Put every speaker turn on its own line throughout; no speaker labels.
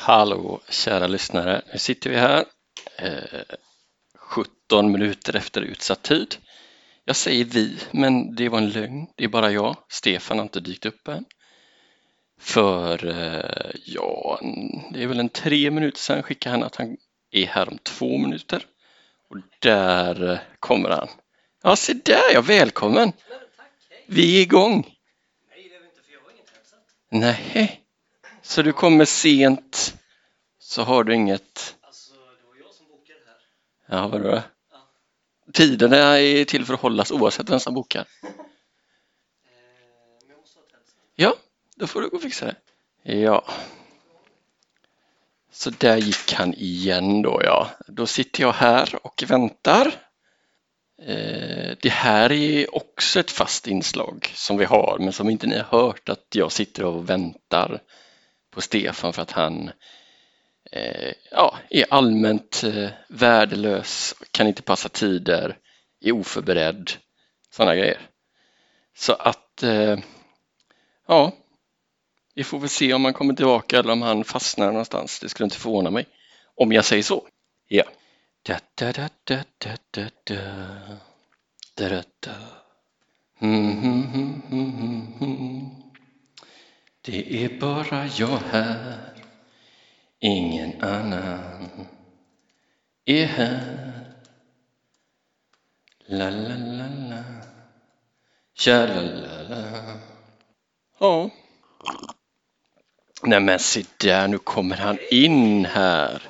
Hallå kära lyssnare, nu sitter vi här eh, 17 minuter efter utsatt tid. Jag säger vi, men det var en lögn. Det är bara jag. Stefan har inte dykt upp än. För, eh, ja, det är väl en tre minuter sedan skickade han att han är här om två minuter. Och där eh, kommer han. Ja, se där ja, välkommen! Vi är igång!
Nej, det är vi inte för jag har inget headset.
Nej, så du kommer sent så har du inget
Alltså, det var jag som bokade det här.
Ja, vadå? då?
Ja.
Tiderna är till för att hållas oavsett vem som bokar.
Eh, men jag måste ha ett headset.
Ja, då får du gå och fixa det. Ja. Så där gick han igen då ja. Då sitter jag här och väntar. Eh, det här är också ett fast inslag som vi har men som inte ni har hört att jag sitter och väntar på Stefan för att han eh, ja, är allmänt eh, värdelös, kan inte passa tider, är oförberedd, sådana grejer. Så att eh, Ja, vi får väl se om han kommer tillbaka eller om han fastnar någonstans. Det skulle inte förvåna mig om jag säger så. Ja. Da, da, da, da, da, da, da. Da, da, da. Mm, mm, mm, mm, mm. Det är bara jag här, ingen annan är här. La, la, la, la. Tja, la, la, la. Ja. Nej men se där, nu kommer han in här.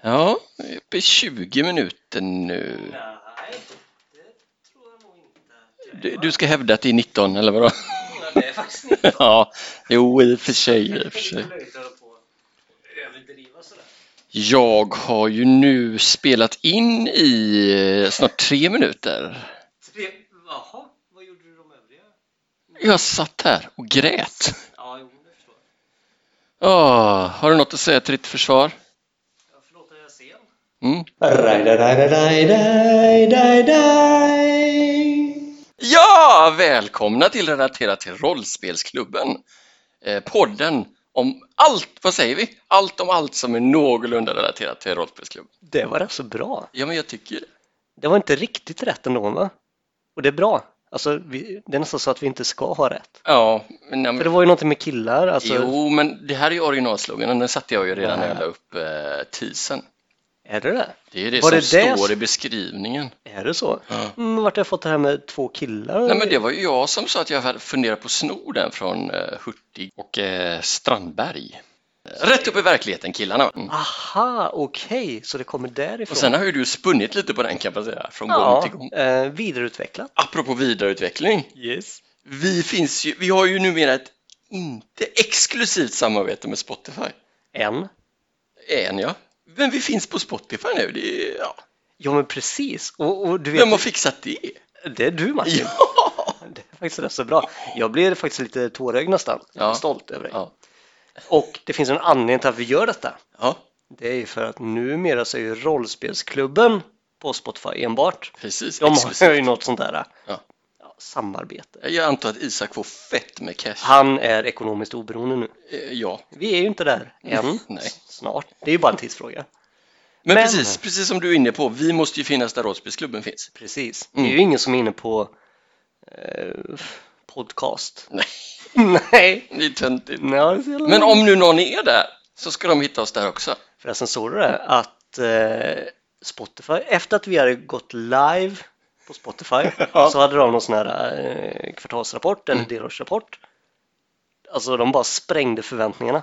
Ja, vi är uppe i 20 minuter nu.
Nej, det tror jag nog inte. att jag är.
Eh. Du, du ska hävda att det är 19 eller vadå?
Ja, Det är faktiskt inte.
Ja, jo i och för sig. I och
Jag
för sig.
kan inte hålla på och överdriva sådär.
Jag har ju nu spelat in i eh, snart tre minuter.
Tre... Jaha, vad gjorde du de övriga?
Jag satt här och grät.
Ja, jo, det förstår jag.
Åh, har du något att säga till ditt försvar?
Ja, Förlåt att jag är sen.
Mm.
Raj-da-raj-da-raj-da-raj-da-raj.
Ja, välkomna till Relaterat till rollspelsklubben. Eh, podden om allt, vad säger vi? Allt om allt som är någorlunda relaterat till rollspelsklubben.
Det var rätt så bra.
Ja, men jag tycker det.
Det var inte riktigt rätt ändå, va? Och det är bra. Alltså, det är nästan så att vi inte ska ha rätt.
Ja, men, nej, men,
var ju någonting med killar, alltså.
jo, men det här är ju originalsloganen. Den satte jag ju redan när jag
Nä.
la upp eh, teasern.
Är det det?
Det är det
Var
som
det det
står
som-
i beskrivningen.
Är det så?
Ja.
Mm, vart har jag fått det här med två killar?
Nej, men det var ju jag som sa att jag hade funderat på att sno den från eh, Hurtig och eh, Strandberg. Eh, Rätt upp i verkligheten killarna. va? Mm.
Aha, okej, så det kommer därifrån.
Och sen har ju du spunnit lite på den kan man säga, från gång
ja,
till gång.
eh, vidareutvecklat.
Apropå vidareutveckling.
Yes.
Vi, finns ju, vi har ju numera ett inte exklusivt samarbete med Spotify.
En.
Än ja. Men vi finns på Spotify nu. Det, är- ja.
Ja, men precis. Och, och du vet,
Vem har fixat det?
det är du Martin.
Ja!
Det är faktiskt rätt så bra. Jag blir faktiskt lite tårögd nästan. Jag
Ja.
är stolt över dig.
Ja.
Och det finns en anledning till att vi gör detta.
ja,
Det är ju för att numera så är ju rollspelsklubben på Spotify enbart.
precis.
De har ju
Exklusivt.
något sånt där eh,
Ja.
ja, samarbete.
Jag antar att Isak får fett med cash.
Han är ekonomiskt oberoende nu.
Eh, Ja,
Vi är ju inte där än.
Nej.
Snart. Det är ju bara en tidsfråga.
men,
Men-
precis, precis som du är inne på, vi måste ju finnas där rollspelsklubben finns.
Precis. Det är
Mm.
ju ingen som är inne på eh, podcast.
Nej,
Nej.
det är töntigt.
Nej, det är så jävla
Men
roligt.
om nu någon är där så ska de hitta oss där också.
Förresten såg du det? Att eh, Spotify, efter att vi hade gått live på Spotify
Ja.
så hade de någon sån här eh, kvartalsrapport eller delårsrapport. Alltså de bara sprängde förväntningarna.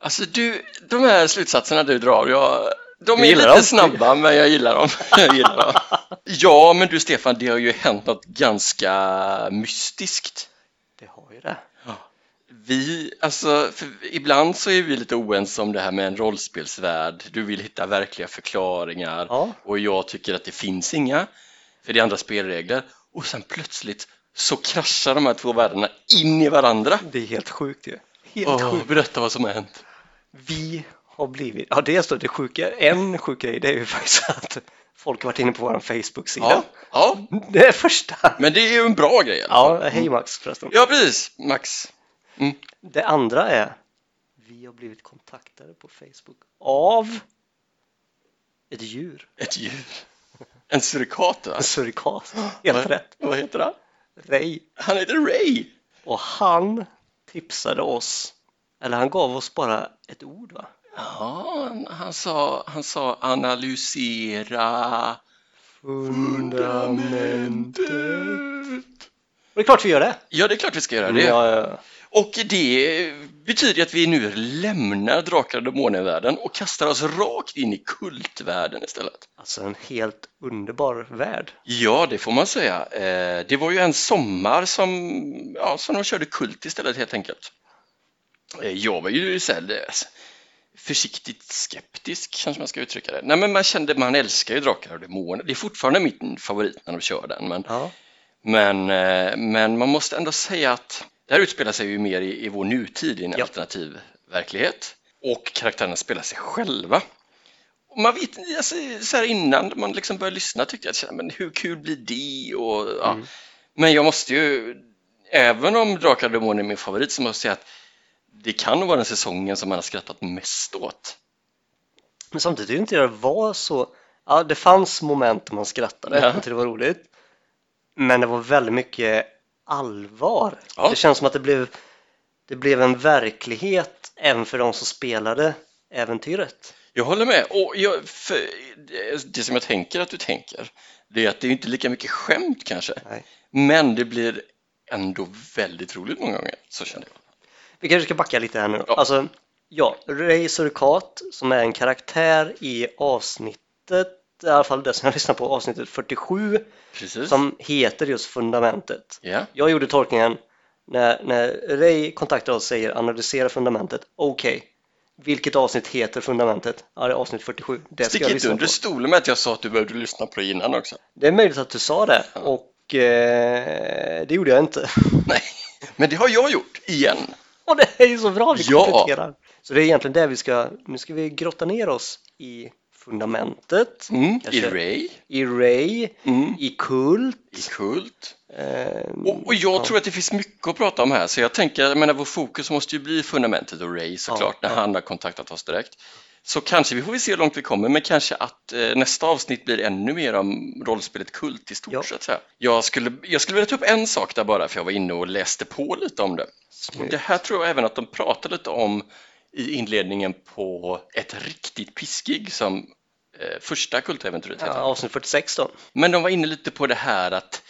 Alltså du, de här slutsatserna du drar, jag, de
Du
är
gillar
lite
dem?
snabba men jag gillar dem. jag gillar dem. Ja men du Stefan, det har ju hänt något ganska mystiskt.
Det har ju det.
Vi, alltså, för ibland så är vi lite oense om det här med en rollspelsvärld. Du vill hitta verkliga förklaringar
Ja.
och jag tycker att det finns inga, för det är andra spelregler. Och sen plötsligt så kraschar de här två världarna in i varandra.
Det är helt sjukt ju. Helt
Åh,
sjukt.
berätta vad som har hänt.
Vi har blivit, ja det är så det sjuka, en sjuk grej det är ju faktiskt att folk har varit inne på vår Facebook-sida.
Ja, ja.
Det är första.
Men det är ju en bra grej. i alla fall.
Ja, hej Max förresten.
Ja, precis. Max.
Det andra är, vi har blivit kontaktade på Facebook av ett djur.
Ett djur. En surikat va?
En surikat. Helt
Vad-
rätt.
Vad heter han?
Ray.
Han heter Ray!
Och han tipsade oss, eller han gav oss bara ett ord va?
Ja, han, han, sa, han sa analysera fundamentet.
Det är klart vi gör det.
Ja, det är klart vi ska göra det.
Ja, ja.
Och det betyder att vi nu lämnar Drakar och Demoner-världen och kastar oss rakt in i kultvärlden istället.
Alltså en helt underbar värld.
Ja, det får man säga. Eh, Det var ju en sommar som, ja, som de körde kult istället helt enkelt. Eh, Jag var ju så här, eh, försiktigt skeptisk, kanske man ska uttrycka det. Nej, men man kände, man älskar ju Drakar och Demoner. Det är fortfarande min favorit när de kör den, men
Ja.
Men, eh, men man måste ändå säga att det här utspelar sig ju mer i, i vår nutid i en
Ja.
alternativ verklighet och karaktärerna spelar sig själva. Och man vet alltså, så här innan man liksom började lyssna tyckte jag att "Tja, men hur kul blir det? Och, ja.
Mm.
Men jag måste ju, även om Drakar och Demoner är min favorit så måste jag säga att det kan vara den säsongen som man har skrattat mest åt.
Men samtidigt tyckte inte det var så... Ja, det fanns moment där man skrattade
Ja.
jag tyckte det var roligt. Men det var väldigt mycket allvar.
Ja.
Det känns som att det blev, det blev en verklighet även för de som spelade äventyret.
Jag håller med. Och jag, för, det, det som jag tänker att du tänker, det är att det är inte lika mycket skämt kanske.
Nej.
Men det blir ändå väldigt roligt många gånger, så känner jag.
Vi kanske ska backa lite här nu då.
Ja.
Alltså, ja, Ray Surikat som är en karaktär i avsnittet, i alla fall det som jag lyssnar på, avsnittet 47,
Precis.
som heter just Fundamentet.
Ja,
Jag gjorde tolkningen när, när Ray kontaktar oss och säger analysera fundamentet. Okej, vilket avsnitt heter fundamentet? Ja, det är avsnitt 47. Det ska
stick
jag
inte
lyssna
under
på.
stolen med att jag sa att du behövde lyssna på det innan också.
Det är möjligt att du sa det
Ja.
och eh, det gjorde jag inte.
Nej, men det har jag gjort igen.
Och det är ju så bra, vi
Ja.
kompletterar. Så det är egentligen där vi ska, nu ska vi grotta ner oss i fundamentet,
Mm. I
Kanske.
Ray,
i Ray,
mm.
i Kult.
i Kult.
Eh,
Och, och jag
ja.
tror att det finns mycket att prata om här, så jag tänker, jag menar vår fokus måste ju bli fundamentet och Ray såklart,
Ja,
när
ja.
han har kontaktat oss direkt. Så kanske, vi får väl se hur långt vi kommer, men kanske att eh, nästa avsnitt blir ännu mer om rollspelet Kult i stort
Ja.
så att säga. Jag skulle, jag skulle vilja ta upp en sak där bara, för jag var inne och läste på lite om det. Och
Snyggt.
Det här tror jag även att de pratade lite om i inledningen på ett riktigt piskig som eh, första kultäventyret
Ja,
heter.
avsnitt 46 då.
Men de var inne lite på det här att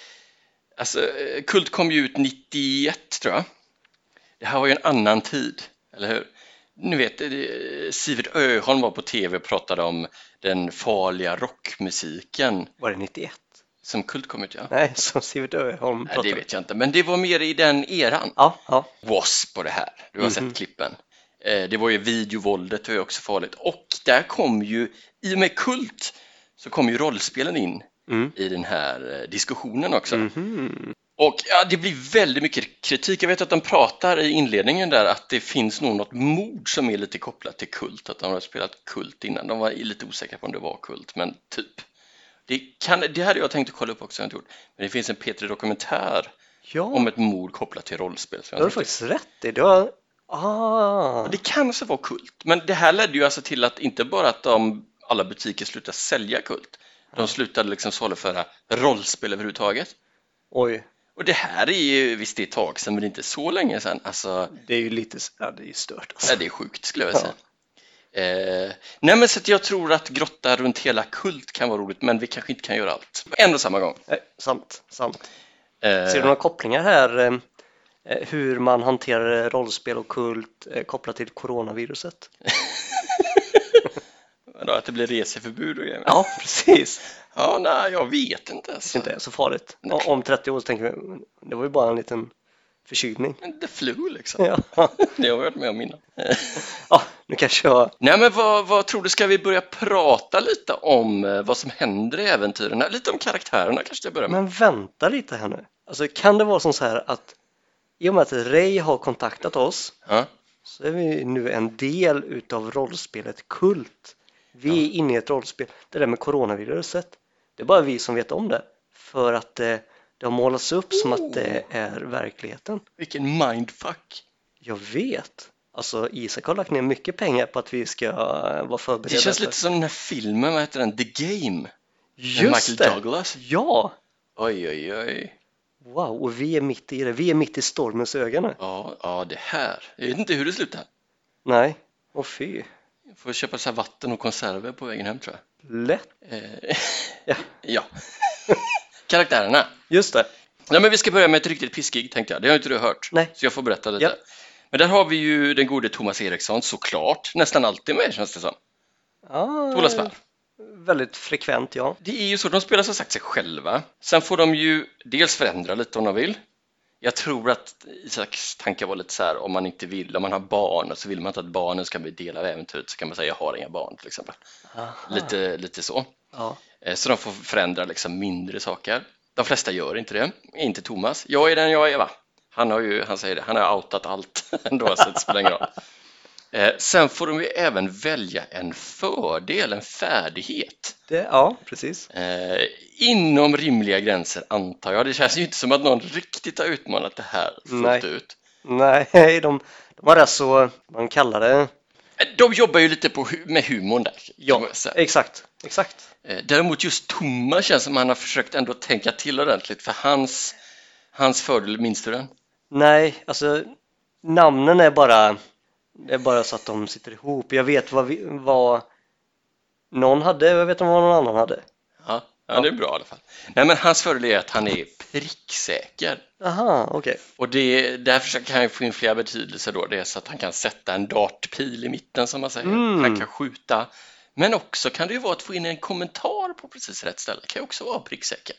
alltså, eh, Kult kom ju ut 91 tror jag. Det här var ju en annan tid, eller hur? Ni vet, eh, Sivert Öholm var på tv och pratade om den farliga rockmusiken
Var det 91?
som Kult kom ut ja.
Nej, som Sivert Öholm
Nej,
pratade
det
om.
vet jag inte, men det var mer i den eran.
Ja, ja.
wasp på det här. Du har
Mhm.
sett klippen. Eh, Det var ju videovåldet, det var ju också farligt. Och där kom ju, i och med Kult, så kom ju rollspelen in
Mm.
i den här eh, diskussionen också.
Mhm.
Och ja, det blir väldigt mycket kritik. Jag vet att de pratar i inledningen där att det finns nog något mord som är lite kopplat till Kult, att de har spelat Kult innan. De var lite osäkra på om det var Kult, men typ. Det, kan, det hade jag tänkt att kolla upp också, jag har inte gjort. men det finns en P3 Dokumentär
Ja,
om ett mord kopplat till rollspel. som
det
jag
har du
tänkte-
faktiskt rätt i. Det var... Ah.
Det kanske var kult, men det här ledde ju alltså till att inte bara att de, alla butiker slutade sälja kult, de slutade liksom saluföra rollspel överhuvudtaget.
Oj,
Och det här är ju, visst det är ett tag sedan, men det är inte så länge sedan. Alltså,
det är ju lite... Ja, det är ju stört alltså.
nej, det är sjukt skulle jag säga. Eh, nej men så att jag tror att grotta runt hela kult kan vara roligt, men vi kanske inte kan göra allt på en och samma gång.
Nej, Eh, sant, sant.
Eh,
Ser du några kopplingar här? eh, eh, Hur man hanterar eh, rollspel och kult eh, kopplat till coronaviruset?
Vadå, att det blir reseförbud och grejer?
Ja, precis.
ja, nej, jag vet inte.
Det
Alltså.
inte är så farligt.
Nej.
O- Om 30 år så tänker vi, det var ju bara en liten förkylning.
The flu liksom.
Ja,
Det har jag varit med om innan. Eh,
ja nu kanske jag...
Nej, men vad, vad tror du, ska vi börja prata lite om eh, vad som händer i äventyren? Lite om karaktärerna kanske jag börjar med.
Men vänta lite här nu. Alltså kan det vara som så här att i och med att Ray har kontaktat oss
Ja.
så är vi nu en del utav rollspelet Kult. Vi är inne i ett rollspel. Det där med coronaviruset, det är bara vi som vet om det. För att det, det har
Oh.
målats upp som att det är verkligheten.
Vilken mindfuck!
Jag vet. Alltså Isak har lagt ner mycket pengar på att vi ska eh, vara förberedda.
Det känns
för-
lite som den här filmen, vad heter den? The Game? Med
Just
Michael
det!
Douglas.
Ja!
Oj, oj, oj.
Wow, och vi är mitt i det. Vi är mitt i stormens öga nu.
Ja, ja, det här. Jag vet inte hur det slutar.
Nej, och fy.
Jag får köpa så här vatten och konserver på vägen hem tror jag.
Lätt.
Eh,
Ja.
ja. Karaktärerna.
Just det.
Nej, men vi ska börja med ett riktigt piskig tänkte jag. Det har ju inte du hört.
Nej.
Så jag får berätta lite.
Ja.
Men där har vi ju den gode Thomas Eriksson såklart. Nästan alltid med känns det som.
Ah,
Ola Svärd.
Väldigt frekvent, ja.
Det är ju så, de spelar som sagt sig själva. Sen får de ju dels förändra lite om de vill. Jag tror att Isaks tankar var lite så här om man inte vill, om man har barn och så vill man inte att barnen ska bli del av äventyret så kan man säga jag har inga barn till exempel.
Aha.
Lite, lite så.
Ah. Ja.
Eh, Så de får förändra liksom mindre saker. De flesta gör inte det, inte Thomas. Jag är den jag är va? Han har ju, han säger det, han har outat allt ändå så det spelar ingen roll. Eh, Sen får de ju även välja en fördel, en färdighet.
Det, ja, precis.
Eh, inom rimliga gränser antar jag. Det känns ju inte som att någon riktigt har utmanat det här fullt
Nej.
ut.
Nej, de, de har alltså, man kallar det,
Eh, De jobbar ju lite på, hu- med humorn där. kan man säga.
exakt, exakt.
Eh, Däremot just Thomas känns som att han har försökt ändå tänka till ordentligt för hans, hans fördel, minns du den?
Nej, alltså namnen är bara, det är bara så att de sitter ihop. Jag vet vad, vi, vad någon hade, jag vet inte vad någon annan hade.
Ja, ja, det är bra i alla fall. Nej, men hans fördel är att han är pricksäker.
Aha, okej.
Och det, där försöker han ju få in flera betydelser då. Det är så att han kan sätta en dartpil i mitten som man säger.
Mm.
Han kan skjuta. Men också kan det ju vara att få in en kommentar på precis rätt ställe. kan ju också vara pricksäker.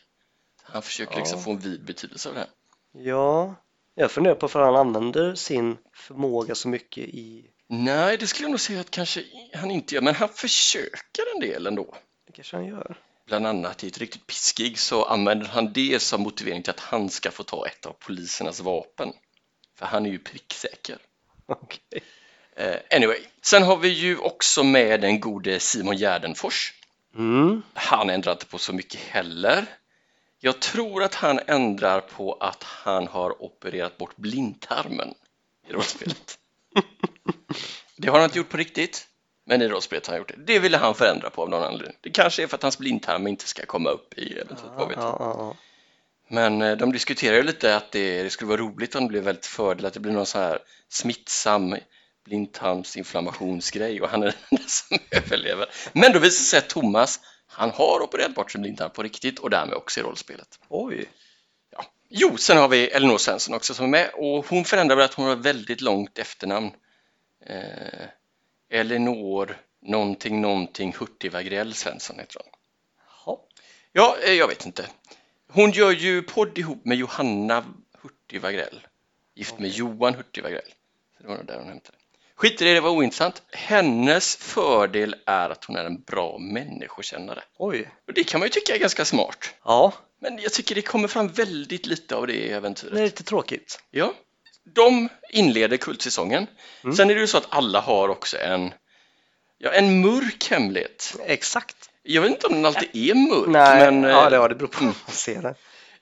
Han försöker
Ja.
liksom få en vid betydelse av det. här.
Ja, jag funderar på för han använder sin förmåga så mycket i,
Nej, det skulle jag nog säga att kanske han inte gör. Men han försöker en del ändå.
det kanske han gör.
Bland annat i ett riktigt piskig så använder han det som motivering till att han ska få ta ett av polisernas vapen. För han är ju pricksäker.
Okej.
Eh, anyway, sen har vi ju också med den gode Simon Gärdenfors.
Mm,
Han ändrar inte på så mycket heller. Jag tror att han ändrar på att han har opererat bort blindtarmen i rollspelet. Det har han inte gjort på riktigt, men i rollspelet har han gjort det. Det ville han förändra på av någon anledning. Det kanske är för att hans blindtarm inte ska komma upp i eventuellt, vad
ja,
vet jag.
ja, ja.
Men eh, de diskuterar ju lite att det, det skulle vara roligt om det blev väldigt fördel, att det blir någon sån här smittsam blindtarmsinflammationsgrej och han är den enda som överlever. Men då visar det sig att Thomas, han har opererat bort sin blindtarm på riktigt och därmed också i rollspelet.
Oj.
Ja. Jo, sen har vi Elinor Svensson också som är med och hon förändrar väl att hon har väldigt långt efternamn. Eh, Elinor någonting någonting Hurtig Wagrell Svensson heter hon.
Ja.
Ja, eh, jag vet inte. Hon gör ju podd ihop med Johanna Hurtig Wagrell. Gift med Johan Hurtig Wagrell. Så det var nog där hon hämtade det. Skit i det, det var ointressant. Hennes fördel är att hon är en bra människokännare.
Oj.
Och det kan man ju tycka är ganska smart.
Ja,
Men jag tycker det kommer fram väldigt lite av det i äventyret.
det är lite tråkigt.
Ja. De inleder kultsäsongen.
Mm.
Sen är det ju så att alla har också en, ja, en mörk hemlighet.
Exakt.
Jag vet inte om den alltid är mörk.
Nej,
men, eh,
ja, det, ja, det beror på hur man ser det.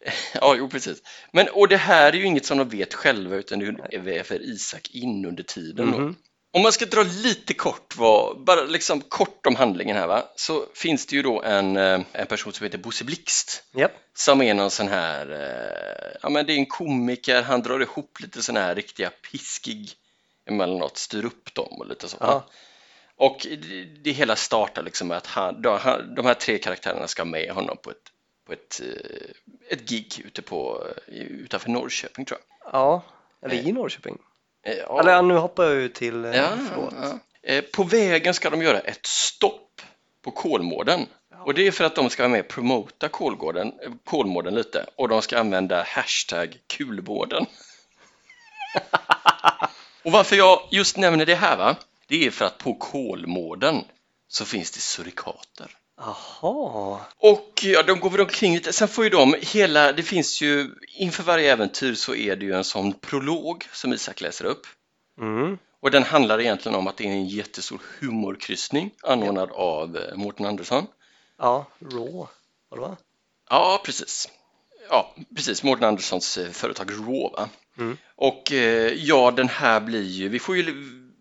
Ja, jo precis. Men, och det här är ju inget som de vet själva utan det väver Isak in under tiden. då.
Mhm.
Om man ska dra lite kort, vad, bara liksom kort om handlingen här va, så finns det ju då en, eh, en person som heter Bosse Blixt
Japp.
som är någon sån här, eh, ja men det är en komiker, han drar ihop lite sån här riktiga piskig emellanåt, styr upp dem och lite så. va?
Ja.
Och det, det hela startar liksom med att han, då, han, de här tre karaktärerna ska med honom på ett, på ett, eh, ett gig ute på, eh, utanför Norrköping tror jag.
ja, eller i Norrköping.
Eh, ja.
Eller ja, nu hoppar jag ut till, eh,
Ja,
förlåt.
ja. Eh, På vägen ska de göra ett stopp på Kolmården. Och det är för att de ska vara med och promota Kolgården, eh, Kolmården lite och de ska använda hashtag kulbåden. och varför jag just nämner det här va? Det är för att på Kolmården så finns det surikater.
Jaha,
Och ja, de går väl omkring lite. Sen får ju de hela, det finns ju, inför varje äventyr så är det ju en sån prolog som Isak läser upp.
mm.
Och den handlar egentligen om att det är en jättestor humorkryssning anordnad av eh, Mårten Andersson.
ja, rå. Vadå? va?
Ja, precis. Ja, precis. Mårten Anderssons eh, företag Raw. Va?
Mm.
Och eh, ja, den här blir ju, vi får ju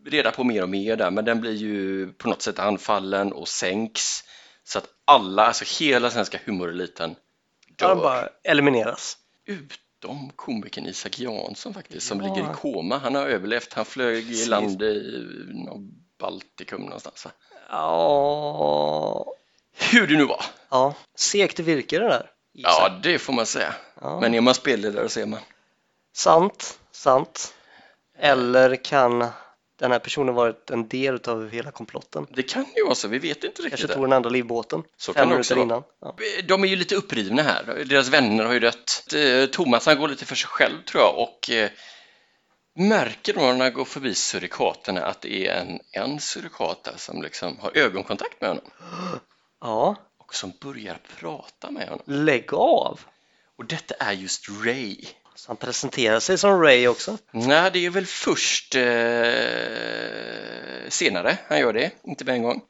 reda på mer och mer där, men den blir ju på något sätt anfallen och sänks. Så att alla, alltså hela svenska humoreliten dör.
Han bara elimineras.
Utom komikern Isak Jansson faktiskt, som
Ja.
ligger i koma. Han har överlevt, han flög i
Precis.
land i eh, någon Baltikum någonstans. Va?
Ja,
Hur det nu var.
ja. segt virke det där. Isak.
Ja, det får man säga.
Ja.
Men är man spelledare så är man.
Sant, sant.
Eh.
Eller kan den här personen varit en del av hela komplotten?
Det kan ju vara så, vi vet inte riktigt.
Kanske
det.
tog den andra livbåten
Så kan
fem
det
minuter
också
innan. Ja.
De är ju lite upprivna här. Deras vänner har ju dött. Eh, Thomas han går lite för sig själv tror jag och eh, märker då när han går förbi surikaterna att det är en, en surikat där som liksom har ögonkontakt med honom
ja,
och som börjar prata med honom.
lägg av!
Och detta är just Ray.
Så han presenterar sig som Ray också.
Nej, det är väl först eh, senare han gör det, inte med en gång.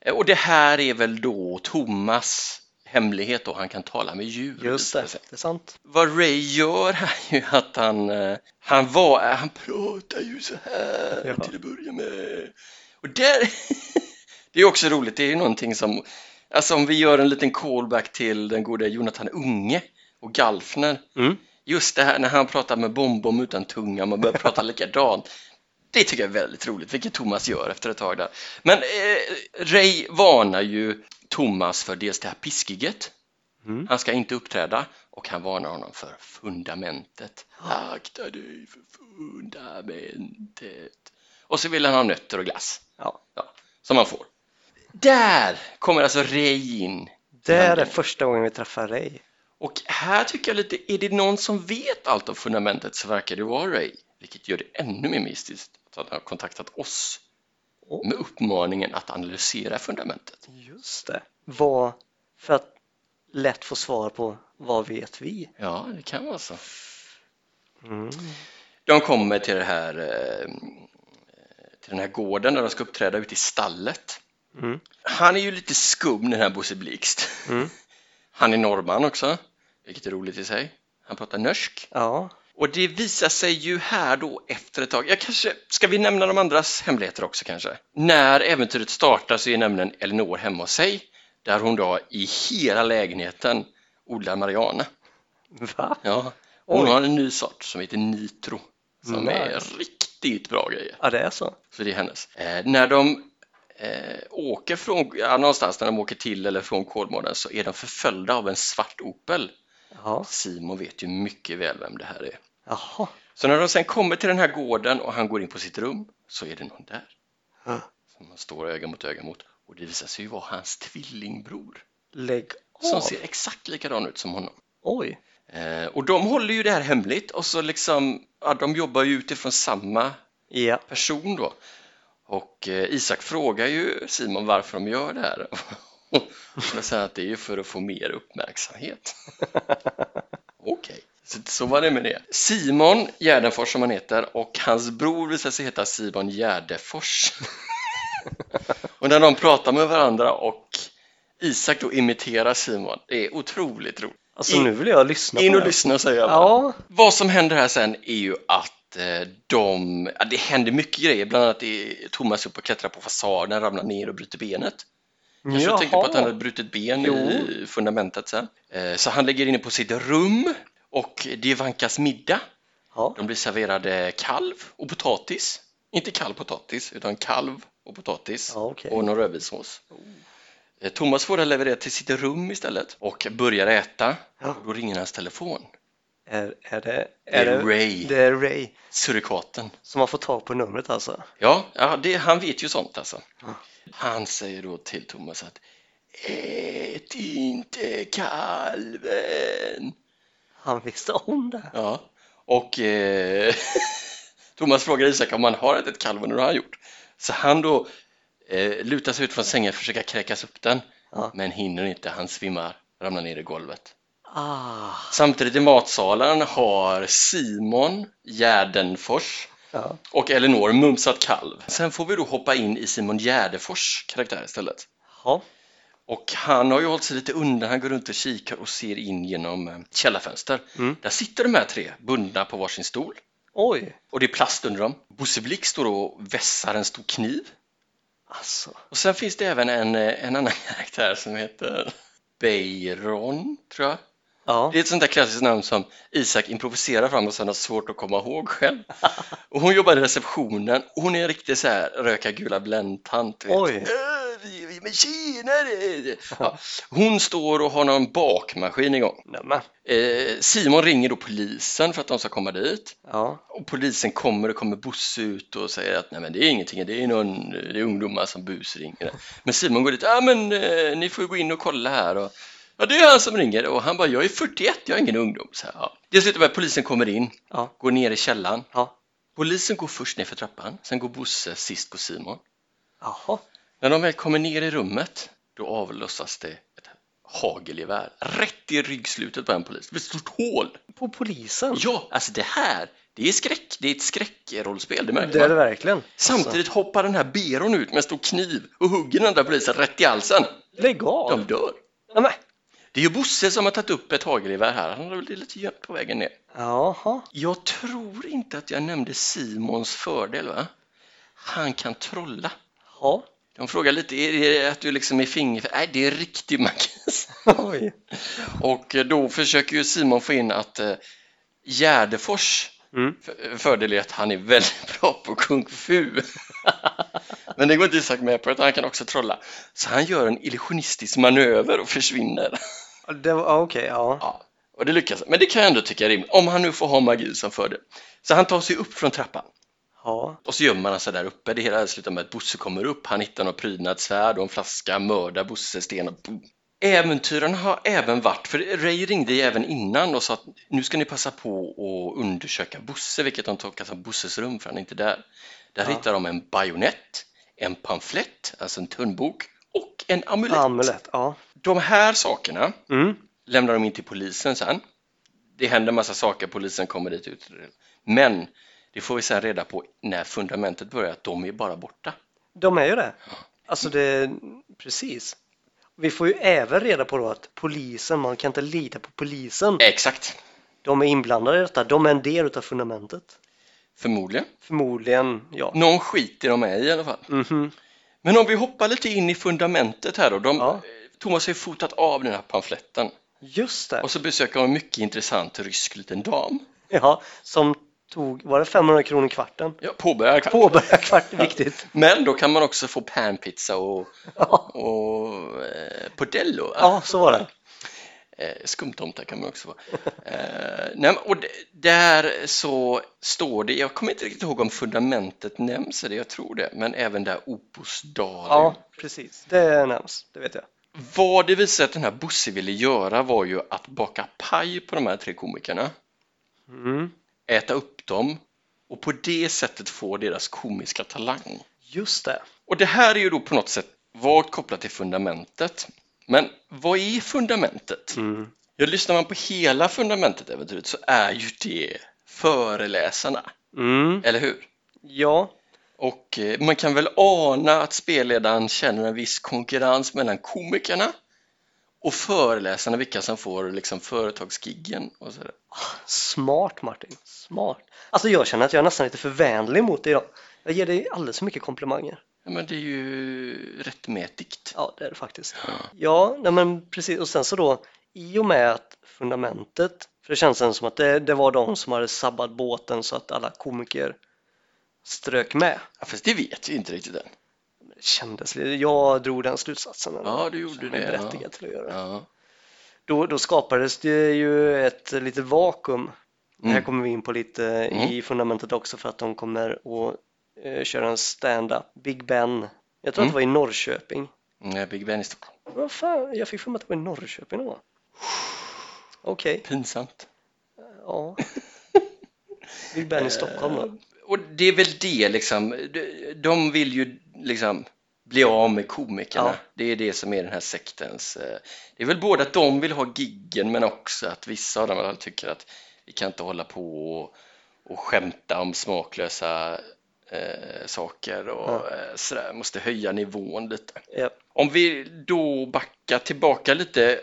Eh, Och det här är väl då Thomas hemlighet då, han kan tala med djur.
Just
visar
det,
sig.
det är sant.
Vad Ray gör är ju att han, eh, han var, han pratar ju så här
Ja.
till att börja med. Och där, det är också roligt, det är ju någonting som, alltså om vi gör en liten callback till den gode Jonathan Unge och Galfner,
Mm.
just det här när han pratar med Bombom utan tunga, man börjar prata likadant. Det tycker jag är väldigt roligt, vilket Thomas gör efter ett tag där. Men eh, Ray varnar ju Thomas för dels det här piskiget,
Mm.
han ska inte uppträda och han varnar honom för fundamentet. Akta dig för fundamentet. Och så vill han ha nötter och glass.
Ja.
Ja, som han får. Där kommer alltså Ray in.
Där är första gången vi träffar Ray.
Och här tycker jag lite, är det någon som vet allt om fundamentet så verkar det vara Ray. Vilket gör det ännu mer mystiskt att han har kontaktat oss
Oh.
med uppmaningen att analysera fundamentet.
Just det. Vad, för att lätt få svar på vad vet vi?
Ja, det kan vara så.
Mm.
De kommer till, det här, eh, till den här gården där de ska uppträda ute i stallet.
Mm.
Han är ju lite skum den här Bosse Blixt.
Mm.
Han är norrman också, vilket är roligt i sig. Han pratar norsk.
Ja,
Och det visar sig ju här då efter ett tag, jag kanske, ska vi nämna de andras hemligheter också kanske? När äventyret startar så är nämligen Elinor hemma hos sig, där hon då i hela lägenheten odlar marijuana.
va?
Ja. Hon
Oj.
har en ny sort som heter nitro, som
Nice.
är riktigt bra grejer.
Ja, det är så.
Så det är hennes. Eh, när de eh, åker från, ja, någonstans när de åker till eller från Kolmården så är de förföljda av en svart Opel.
Ja.
Simon vet ju mycket väl vem det här är.
Jaha.
Så när de sen kommer till den här gården och han går in på sitt rum så är det någon där
Huh.
som han står öga mot öga mot och det visar sig ju vara hans tvillingbror
Lägg
som
av!
ser exakt likadan ut som honom.
Oj!
Eh, och de håller ju det här hemligt och så liksom, ja, de jobbar ju utifrån samma
Ja.
person då. Och eh, Isak frågar ju Simon varför de gör det här. Och då säger han att det är ju för att få mer uppmärksamhet. Okej, så, så var det med det. Simon Gärdenfors som han heter och hans bror visar sig heta Simon Gärdefors. och när de pratar med varandra och Isak då imiterar Simon, det är otroligt roligt.
Alltså
In-
nu vill jag lyssna
In
på
och
det.
lyssna säger jag bara.
Ja,
Vad som händer här sen är ju att eh, de, ja, det händer mycket grejer, bland annat är Thomas upp och klättrar på fasaden, ramlar ner och bryter benet. Kanske Jag tänkte på att han hade brutit ben i fundamentet sen. Eh, Så han ligger inne på sitt rum och det vankas middag.
Ja,
De blir serverade kalv och potatis. Inte kall potatis, utan kalv och potatis
Ja, okej. Oh.
och någon rödvinssås. Eh, Thomas får det levererat till sitt rum istället och börjar äta.
Ja.
Och då ringer hans telefon.
är, är det...
Det är Ray.
Det är Ray
Surikaten.
som har fått tag på numret alltså.
Ja, ja det, han vet ju sånt alltså.
Ja.
Han säger då till Thomas att Ät inte kalven!
Han visste om det.
Ja, och eh, Thomas frågar Isak om han har ätit kalven och det har han gjort. Så han då eh, lutar sig ut från sängen och försöker kräkas upp den,
Ja.
men hinner inte. Han svimmar, ramlar ner i golvet.
Ah,
Samtidigt i matsalen har Simon Gärdenfors
ja.
och Elinor mumsat kalv. Sen får vi då hoppa in i Simon Gärdefors karaktär istället.
Ja.
Och han har ju hållit sig lite undan, han går runt och kikar och ser in genom eh, källarfönster.
Mm.
Där sitter de här tre bundna på varsin stol.
Oj,
Och det är plast under dem. Bosse Blick står och vässar en stor kniv.
alltså.
Och sen finns det även en, eh, en annan karaktär som heter Beiron, tror jag.
Ja,
Det är ett sånt där klassiskt namn som Isak improviserar fram och sen har svårt att komma ihåg själv. Och hon jobbar i receptionen och hon är en riktig så här röka gula bländtant. du vet.
Oj.
"Äh, vi- vi är Med Kina! det är-" Ja. Hon står och har någon bakmaskin igång.
nämen.
Eh, Simon ringer då polisen för att de ska komma dit.
Ja,
Och polisen kommer och kommer Bosse ut och säger att nej men det är ingenting, det är någon, det är ungdomar som busringer. Men Simon går dit, ja men eh, ni får ju gå in och kolla här och ja det är han som ringer och han bara jag är 41, jag är ingen ungdom. Så här, ja. Det slutar med att polisen kommer in,
Ja.
går ner i källaren.
ja,
Polisen går först ner för trappan, sen går Bosse, sist går Simon.
jaha.
När de väl kommer ner i rummet, då avlossas det ett hagelgevär rätt i ryggslutet på en polis. Ett stort hål!
På polisen?
Ja, alltså det här, det är skräck, det är ett skräckrollspel, det märker
Det
man.
är det verkligen. Alltså,
Samtidigt hoppar den här byrån ut med en stor kniv och hugger den andra polisen rätt i halsen.
Alltså, lägg av!
De dör.
Nämen.
Det är ju Bosse som har tagit upp ett hagelgevär här. Han har väl lite gömt på vägen ner.
Jaha.
Jag tror inte att jag nämnde Simons fördel, va? Han kan trolla.
Ja.
De frågar lite, är det att du liksom är finger... Nej, det är riktig magi.
Oj.
Och då försöker ju Simon få in att eh, Gärdefors
Mm.
f- fördel är att han är väldigt bra på kung fu. Men det går inte Isak med på, utan han kan också trolla. Så han gör en illusionistisk manöver och försvinner.
Ja, Det var, ja, okej, ja.
Ja, och det lyckas. Men det kan jag ändå tycka är rimligt, om han nu får ha magi som fördel. Så han tar sig upp från trappan
Ja.
och så gömmer han sig där uppe. Det hela slutar med att Bosse kommer upp, han hittar något prydnadssvärd och en flaska, mördar Bosse, sten och boom. Äventyren har även varit, för Ray ringde ju även innan och sa att nu ska ni passa på att undersöka Bosse, vilket de tolkar som Bosses rum, för han är inte där. Där
Ja.
hittar de en bajonett, en pamflett, alltså en tunnbok, och en amulett.
Amulett, ja.
De här sakerna
Mm.
lämnar de in till polisen sen. Det händer massa saker, polisen kommer dit ut. Men det får vi sen reda på när fundamentet börjar, att de är bara borta.
De är ju det. Alltså det, precis. Vi får ju även reda på då att polisen, man kan inte lita på polisen.
Exakt,
De är inblandade i detta, de är en del utav fundamentet.
förmodligen.
Förmodligen, ja.
Någon skiter de är i i alla fall.
Mhm.
Men om vi hoppar lite in i fundamentet här då. De,
Ja.
Thomas har ju fotat av den här pamfletten
Just det.
och så besöker han en mycket intressant rysk liten dam.
Ja, som tog, var det 500 kronor kvarten?
Ja, påbörjar kvart.
Påbörja kvarten, viktigt.
Men då kan man också få panpizza och,
Ja,
och eh, podello.
ja så var det.
Eh, skumtomtar kan man också vara. Eh, nej, men- och d- där så står det, jag kommer inte riktigt ihåg om fundamentet nämns, eller jag tror det, men även där Opus Dalium.
Ja, precis. Det nämns, det vet jag.
Vad det visade sig att den här Bosse ville göra var ju att baka paj på de här tre komikerna,
Mm.
äta upp dem och på det sättet få deras komiska talang.
Just det.
Och det här är ju då på något sätt vagt kopplat till fundamentet. Men vad är fundamentet?
Mm.
Ja, lyssnar man på hela fundamentet äventyret så är ju det föreläsarna,
Mm.
eller hur?
Ja,
Och eh, man kan väl ana att spelledaren känner en viss konkurrens mellan komikerna och föreläsarna, vilka som får liksom företagsgiggen och sådär.
Smart Martin, smart. Alltså jag känner att jag är nästan lite för vänlig mot dig idag. Jag ger dig alldeles för mycket komplimanger.
Ja, men det är ju rättmätigt.
Ja, det är det faktiskt. Ja, nej men precis. Och sen så då, i och med att fundamentet, för det känns sen som att det, det var de som hade sabbat båten så att alla komiker strök med.
Ja, fast det vet vi inte riktigt än.
Det kändes lite, jag drog den slutsatsen.
Ja, du gjorde
Jag är
det.
berättigad
ja.
till att göra det.
Ja.
Då, då skapades det ju ett litet vakuum. Det här
Mm.
kommer vi in på lite eh, i fundamentet också för att de kommer att eh, köra en stand-up. Big Ben. Jag tror
Mm.
att det var i Norrköping.
Nej, Big Ben i Stockholm.
Vad fan, jag fick för mig att det var i Norrköping då. Okej,
Pinsamt.
ja. Big
Eh,
Ben i Stockholm då.
Och det är väl det liksom, de- de vill ju liksom bli av med komikerna.
Ja.
Det är det som är den här sektens, eh, det är väl både att de vill ha giggen men också att vissa av dem i alla fall tycker att vi kan inte hålla på och, och skämta om smaklösa eh, saker och
Ja.
eh, sådär, måste höja nivån lite.
Ja.
Om vi då backar tillbaka lite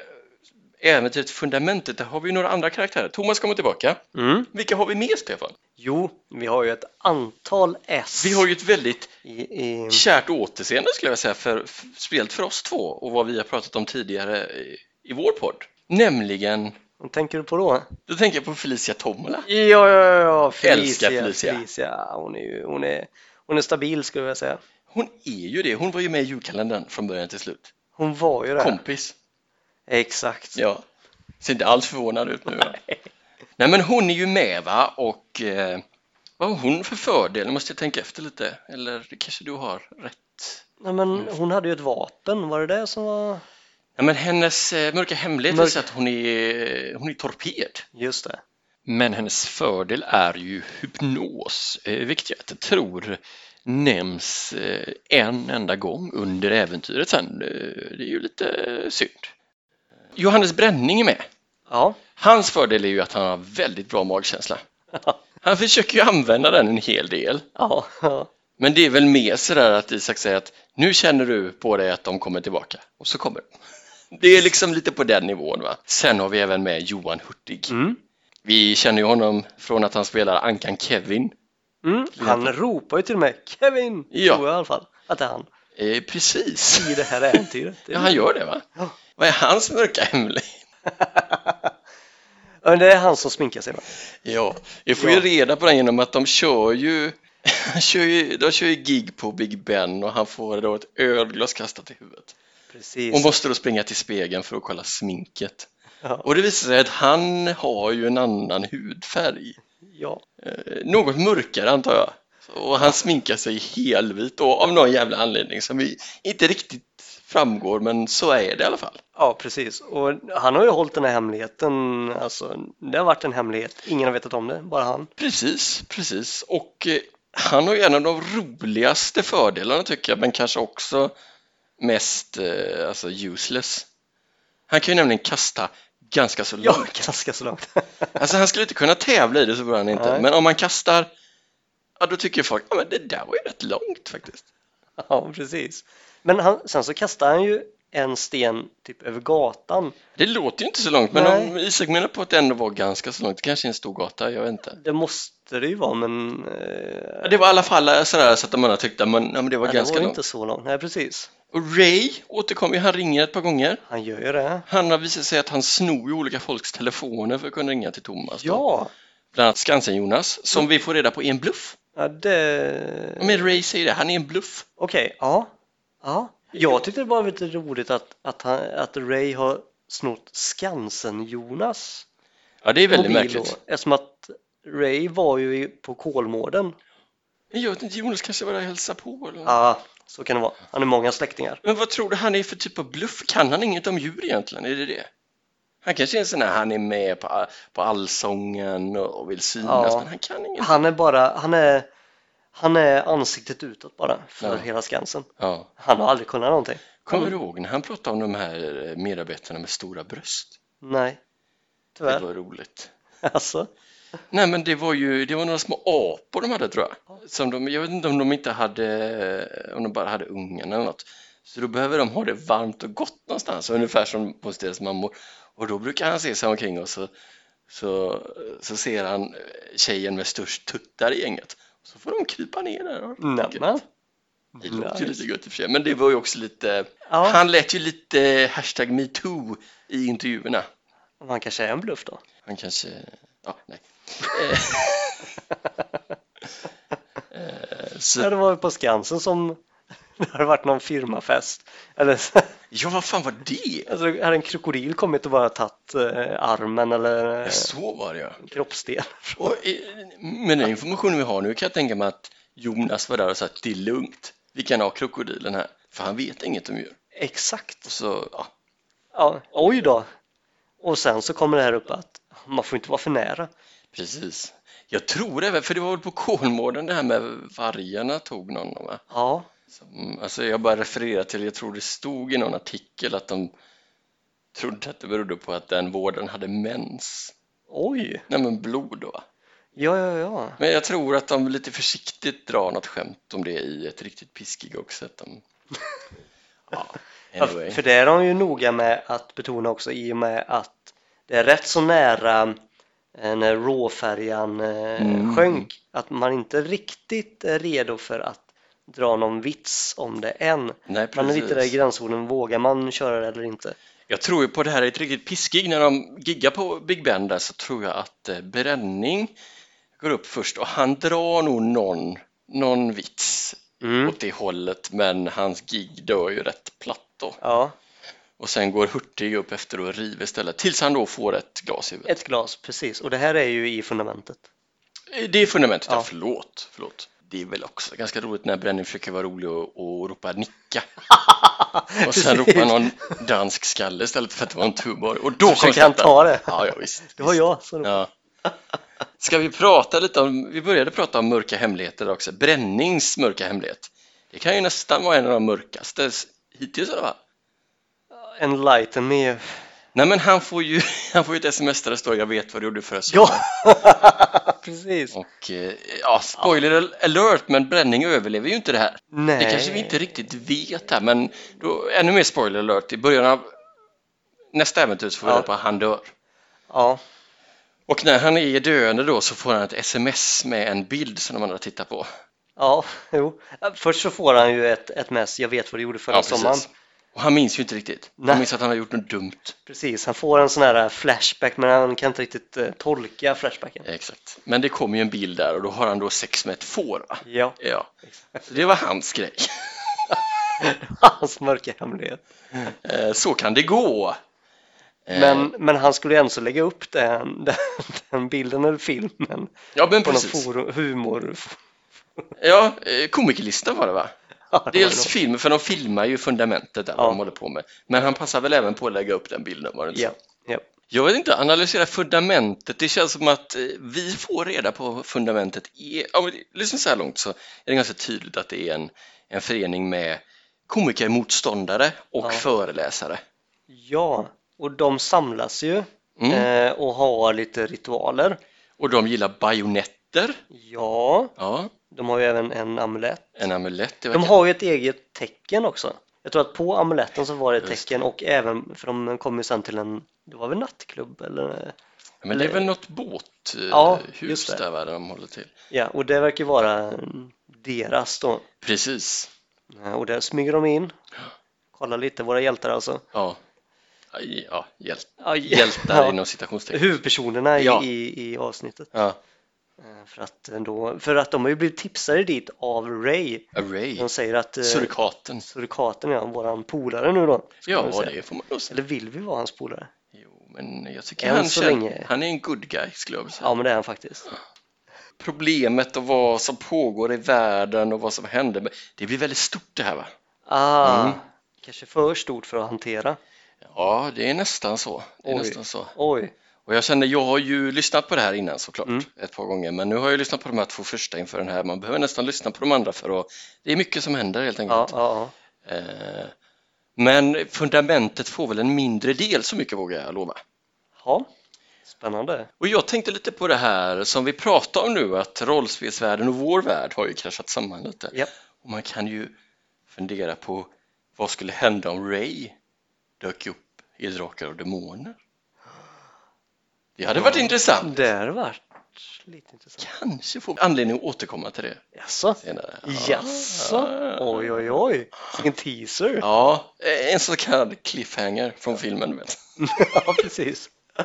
Äventyret Fundamentet, där har vi några andra karaktärer. Thomas kommer tillbaka.
Mm.
Vilka har vi med Stefan?
Jo, vi har ju ett antal S
Vi har ju ett väldigt
i, i...
kärt återseende skulle jag vilja säga, för, för, speciellt för oss två och vad vi har pratat om tidigare i, i vår podd. Nämligen,
Vad tänker du på då?
då tänker jag på Felicia Tombola.
Ja, ja, ja, Felicia,
Älskar Felicia.
Felicia. Hon är ju hon är, hon är stabil skulle jag vilja säga.
Hon är ju det, hon var ju med i julkalendern från början till slut.
Hon var ju det.
Kompis.
Exakt.
Ja. Ser inte alls förvånad ut nu. va? Nej men hon är ju med va och eh, vad har hon för fördel? Nu måste jag tänka efter lite. Eller det kanske du har rätt?
Nej, men hon hade ju ett vapen, var det det som var?
Nej men hennes eh, mörka hemlighet
Mörk-
är att hon är, hon är torped.
Just det.
Men hennes fördel är ju hypnos, eh, vilket jag inte tror nämns eh, en enda gång under äventyret sen. Eh, Det är ju lite eh, synd. Johannes Bränning är med.
Ja.
Hans fördel är ju att han har väldigt bra magkänsla. Han försöker ju använda den en hel del.
ja. ja.
Men det är väl mer sådär att Isak säger att nu känner du på dig att de kommer tillbaka och så kommer de. Det är liksom lite på den nivån va. Sen har vi även med Johan Hurtig.
Mm.
Vi känner ju honom från att han spelar Ankan Kevin.
Mm. Han ropar ju till och med Kevin,
Ja.
tror jag i alla fall att det är han
Eh, precis.
i det här äventyret. Det
Ja,
är-
han gör det va?
Ja.
Vad är hans mörka hemlighet?
Ja, men det är han som sminkar sig va?
Ja, vi får
Ja.
ju reda på den genom att de kör ju, han kör ju de kör ju gig på Big Ben och han får då ett ölglas kastat i huvudet.
Precis.
Och måste då springa till spegeln för att kolla sminket.
Ja.
Och det visar sig att han har ju en annan hudfärg.
ja.
Eh, något mörkare antar jag. Och han sminkar sig helvit då, av någon jävla anledning som vi inte riktigt framgår men så är det i alla fall.
ja, precis. Och han har ju hållit den här hemligheten, alltså det har varit en hemlighet. Ingen har vetat om det, bara han.
Precis, precis. Och eh, han har ju en av de roligaste fördelarna tycker jag, men kanske också mest eh, alltså useless. Han kan ju nämligen kasta ganska så
Ja,
långt.
ganska så långt.
Alltså han skulle inte kunna tävla i det så bra han inte,
Nej.
men om man kastar, ja då tycker folk, ja men det där var ju rätt långt faktiskt.
ja, precis. Men han, sen så kastar han ju en sten typ över gatan.
Det låter ju inte så långt, men
Nej.
om Isak menar på att det ändå var ganska så långt, det kanske är en stor gata, jag vet inte.
Det måste det ju vara, men... Eh,
Ja, Det var i alla fall sådär så att de andra tyckte att ja, men det var
ja,
ganska
det var
långt.
inte så långt. Nej, precis.
Och Ray återkommer ju, han ringer ett par gånger.
Han gör ju det.
Han har visat sig att han snor ju olika folks telefoner för att kunna ringa till Thomas. då.
Ja,
Bland annat Skansen-Jonas, som vi får reda på är en bluff.
ja det...
Men Ray säger det, han är en bluff.
Okej, ja. ja. Jag tyckte det var lite roligt att, att, han, att Ray har snott Skansen-Jonas
Ja, det är väldigt
mobil
märkligt.
då, eftersom att Ray var ju i- på Kolmården.
Men Jag vet inte, Jonas kanske var där och hälsade på eller?
Ja, så kan det vara. Han har många släktingar.
Men vad tror du han är för typ av bluff? Kan han inget om djur egentligen? Är det det? Han kanske är en sån här, han är med på, på allsången och vill synas,
Ja.
men han kan inget.
Han är bara, han är, han är ansiktet utåt bara för
Ja.
hela Skansen.
Ja.
Han har aldrig kunnat någonting.
Kommer du ihåg när han pratade om de här medarbetarna med stora bröst?
Nej,
Det
tyvärr.
var roligt.
Alltså,
Nej men det var ju det var några små apor de hade tror jag. Som de, jag vet inte om de inte hade, om de bara hade ungen eller något. Så då behöver de ha det varmt och gott någonstans, ungefär som hos deras mammor. Och då brukar han se sig omkring och så, så, så ser han eh, tjejen med störst tuttar i gänget. Så får de krypa ner där. och-
nämen.
Det låter ju
Nice.
lite gött i och för sig, men det var ju också lite,
Ja.
han lät ju lite hashtag metoo i intervjuerna.
Han kanske är en bluff då.
Han kanske... Ja, nej. Eh,
Ja,
så,
det var ju på Skansen som det hade varit någon firmafest. Eller,
ja, vad fan var det?
alltså, hade en krokodil kommit och bara tagit eh, armen eller eh,
Så var det ja.
kroppsdel.
Och, eh, med den informationen vi har nu kan jag tänka mig att Jonas var där och sa att det är lugnt. Vi kan ha krokodilen här, för han vet inget om djur.
Exakt.
Och så, ja.
Ja, oj då. Och sen så kommer det här upp att man får inte vara för nära.
Precis. Jag tror även, för det var väl på Kolmården det här med vargarna tog någon va?
Ja,
Som, alltså jag bara refererar till, jag tror det stod i någon artikel att de trodde att det berodde på att den vården hade mens.
oj.
Nej men blod då. va?
Ja, ja, ja.
Men jag tror att de lite försiktigt drar något skämt om det i ett riktigt piskig också. Att de... ja.
Ja,
anyway.
För det är de ju noga med att betona också i och med att det är rätt så nära eh, när råfärjan eh,
Mm.
sjönk att man inte riktigt är redo för att dra någon vits om det än.
Nej,
Man är
precis.
lite där i gränszonen, vågar man köra det eller inte?
Jag tror ju på det här är ett riktigt pissgig. När de giggar på Big Ben där så tror jag att eh, Bränning går upp först och han drar nog någon, någon vits
Mm.
åt det hållet men hans gig dör ju rätt platt då.
Ja,
Och sen går Hurtig upp efter och river istället tills han då får ett glas i huvudet.
ett glas, precis. Och det här är ju i fundamentet.
Eh, Det är fundamentet, ja.
Ja.
förlåt, förlåt. Det är väl också ganska roligt när Bränning försöker vara rolig och, och ropa nicka och sen ropar någon dansk skalle istället för att det var en tuborg och då kommer
Så försöker han
skratten.
ta det.
Ja, ja visst.
Det var jag som
Ja. Ska vi prata lite om, vi började prata om mörka hemligheter också, Brännings mörka hemlighet. Det kan ju nästan vara en av de mörkaste s- hittills i alla fall.
Enlighten me.
Nej men han får ju, han får ju ett sms där det står jag vet vad du gjorde förra sommaren.
Ja, precis.
Och eh, ja, spoiler alert, men Bränning överlever ju inte det här.
Nej.
Det kanske vi inte riktigt vet här, men då, ännu mer spoiler alert, i början av nästa äventyr så får vi
Ja.
reda på att han dör.
Ja,
Och när han är döende då så får han ett sms med en bild som de andra tittar på.
ja, jo. Först så får han ju ett, ett mess, jag vet vad du gjorde förra
precis.
sommaren.
Och han minns ju inte riktigt.
Nej.
Han minns att han har gjort något dumt.
Precis, han får en sån här äh, flashback men han kan inte riktigt eh, tolka flashbacken.
Exakt. Men det kommer ju en bild där och då har han då sex med ett får. Va?
Ja,
Ja, så det var hans grej.
hans mörka hemlighet.
Eh, Så kan det gå. Eh,
Men, men han skulle ju ändå lägga upp den, den, den bilden eller filmen
ja, men
på någon
precis.
forum, humor...
Ja, eh, komikerlistan var det va?
Ja, det var
Dels
nog-
film, för de filmar ju fundamentet där
Ja.
vad de håller på med. Men han passar väl även på att lägga upp den bilden var det inte
Ja,
så?
ja.
Jag vet inte, analysera fundamentet. Det känns som att eh, vi får reda på vad fundamentet är. Ja, men liksom så här långt så är det ganska tydligt att det är en, en förening med komikermotståndare och
Ja.
föreläsare.
ja, och de samlas ju
Mm.
eh, och har lite ritualer.
Och de gillar bajonetter.
Ja,
Ja,
de har ju även en amulett.
en amulett. det
De
verkar-
har ju ett eget tecken också. Jag tror att på amuletten så var det ett
Just
tecken och även, för de kom ju sen till en, det var väl nattklubb eller?
Men det är väl något båthus
Ja,
hus
just det.
där va, där de håller till.
Ja, och det verkar vara deras då.
Precis.
Ja, Och där smyger de in. Kolla lite, våra hjältar alltså.
Ja, Aj, ja hjält,
Ja,
hjältar
ja.
inom citationstecken.
Huvudpersonerna
Ja.
i, i, i avsnittet.
Ja.
Eh, För att, då, för att de har ju blivit tipsade dit av Ray.
Array.
De säger att eh,
Surikaten.
surikaten är våran polare nu då. ska man
Ja,
väl säga.
det får man nog säga.
Eller vill vi vara hans polare?
Jo, men jag tycker
Än
han,
så
känner,
länge.
han är en good guy skulle jag vilja säga.
Ja, men det är han faktiskt.
Problemet och vad som pågår i världen och vad som händer, men det blir väldigt stort det här va?
Ah,
Mm.
kanske för stort för att hantera.
Ja, det är nästan så. Det är
Oj.
nästan så.
Oj,
Och jag känner, jag har ju lyssnat på det här innan såklart,
Mm.
ett par gånger, men nu har jag lyssnat på de här två första inför den här. Man behöver nästan lyssna på de andra för att det är mycket som händer helt
ja,
enkelt.
ja,
Eh, Men fundamentet får väl en mindre del, så mycket vågar jag lova.
ja. Spännande.
Och jag tänkte lite på det här som vi pratar om nu att rollspelsvärlden och vår värld har ju kraschat samman lite.
Japp.
Och man kan ju fundera på vad skulle hända om Ray dök upp i Drakar och Demoner? Det hade varit
Ja.
intressant.
Det har varit lite intressant.
Kanske får vi anledning att återkomma till det
Jaså?
senare.
Jaså? Oj, oj, oj. En teaser.
Ja, en så kallad cliffhanger från filmen. du Vet.
Ja, precis. Ja,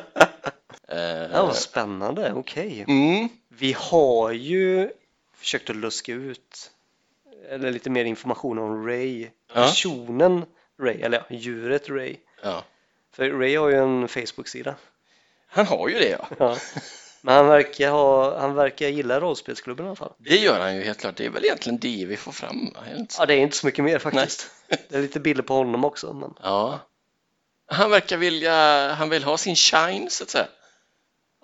Eh,
vad spännande. Okej.
mm,
Vi har ju försökt att luska ut eller lite mer information om Ray.
Ja.
Personen Ray, eller ja, djuret Ray.
ja.
För Ray har ju en Facebook-sida.
Han har ju det ja.
Ja. Men han verkar, ha, han verkar gilla rollspelsklubben i alla fall.
Det gör han ju helt klart. Det är väl egentligen det vi får fram. va? Är det inte så?
Ja, det är inte så mycket mer faktiskt. Det är lite bilder på honom också. Men...
Ja. Han verkar vilja, han vill ha sin shine så att säga.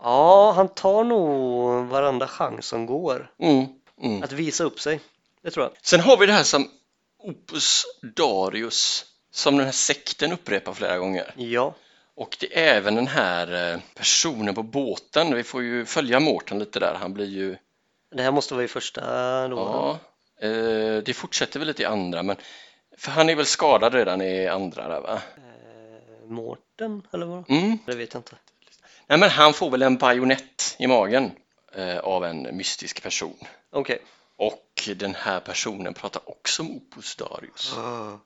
Ja, han tar nog varenda chans som går
Mm. Mm.
att visa upp sig. Det tror jag.
Sen har vi det här som Opus Darius, som den här sekten upprepar flera gånger.
Ja,
Och det är även den här eh, personen på båten. Vi får ju följa Mårten lite där. Han blir ju,
det här måste vara i första då.
ja, eh, det fortsätter väl lite i andra, men För han är väl skadad redan i andra där va?
Eh, Mårten eller vad?
Mm.
Det vet jag inte.
Nej men han får väl en bajonett i magen eh, av en mystisk person.
Okej.
Och den här personen pratar också om Opus Darius.
Ah.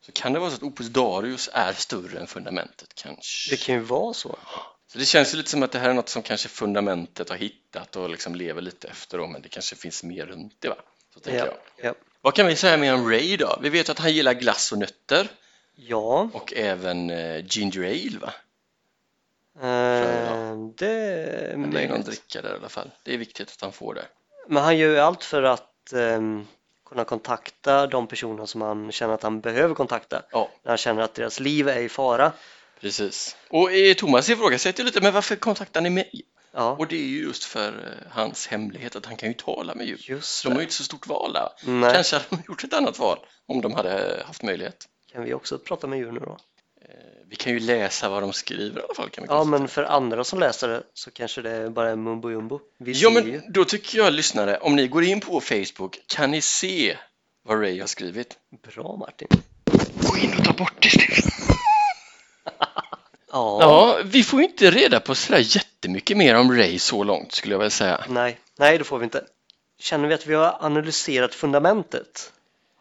Så kan det vara så att Opus Darius är större än fundamentet kanske?
Det kan ju vara så.
Så det känns ju lite som att det här är något som kanske fundamentet har hittat och liksom lever lite efter då, men det kanske finns mer runt det va? Så tänker
ja.
jag.
Ja.
Vad kan vi säga mer om Ray då? Vi vet att han gillar glass och nötter
ja.
och även eh, ginger ale va?
Eh, det är
Men det är någon
Mm, möjligt.
dricka där i alla fall. Det är viktigt att han får det.
Men han gör ju allt för att ehm, kunna kontakta de personer som han känner att han behöver kontakta.
Ja.
När han känner att deras liv är i fara.
Precis. Och eh, Thomas ifrågasätter ju lite, men varför kontaktar ni mig?
Ja,
Och det är ju just för eh, hans hemlighet att han kan ju tala med djur.
just
Så de har ju
det.
inte så stort val där.
Nej.
Kanske hade de gjort ett annat val om de hade eh, haft möjlighet.
Kan vi också prata med djur nu då?
Eh, Vi kan ju läsa vad de skriver i alla fall. Kan vi
Ja,
konstatera.
men för andra som läser det så kanske det bara är mumbo jumbo. Vi
ja,
ser ju.
men då tycker jag lyssnare, om ni går in på Facebook kan ni se vad Ray har skrivit.
Bra Martin.
Gå in och ta bort det.
Ja,
Ja, vi får ju inte reda på sådär jättemycket mer om Ray så långt skulle jag väl säga.
nej, nej det får vi inte. Känner vi att vi har analyserat fundamentet?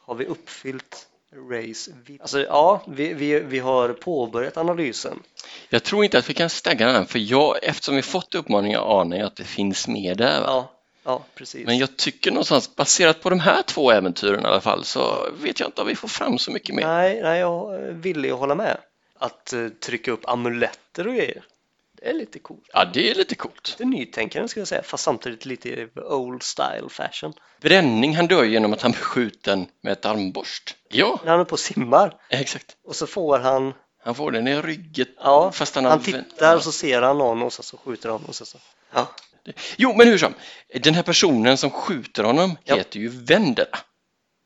Har vi uppfyllt Rays vilja? Alltså ja, vi, vi, vi har påbörjat analysen.
Jag tror inte att vi kan stagga den för jag, eftersom vi fått uppmaningen anar jag att det finns mer där. Va?
Ja, ja precis.
Men jag tycker någonstans baserat på de här två äventyren i alla fall så vet jag inte om vi får fram så mycket mer.
Nej, nej, jag är villig att hålla med. Att eh, trycka upp amuletter och grejer. Det är lite coolt.
Ja, det är lite coolt.
Lite nytänkande skulle jag säga, fast samtidigt lite old style fashion.
Bränning, han dör genom att han blir skjuten med ett armborst. Ja,
När han är på och simmar
exakt.
och så får han
Han får den i ryggen.
Ja,
fast han,
han,
har vänt-
tittar och så ser han någon och sen så skjuter han och sen så... Ja,
Jo, men hur som. Den här personen som skjuter honom
Ja.
heter ju Vendela.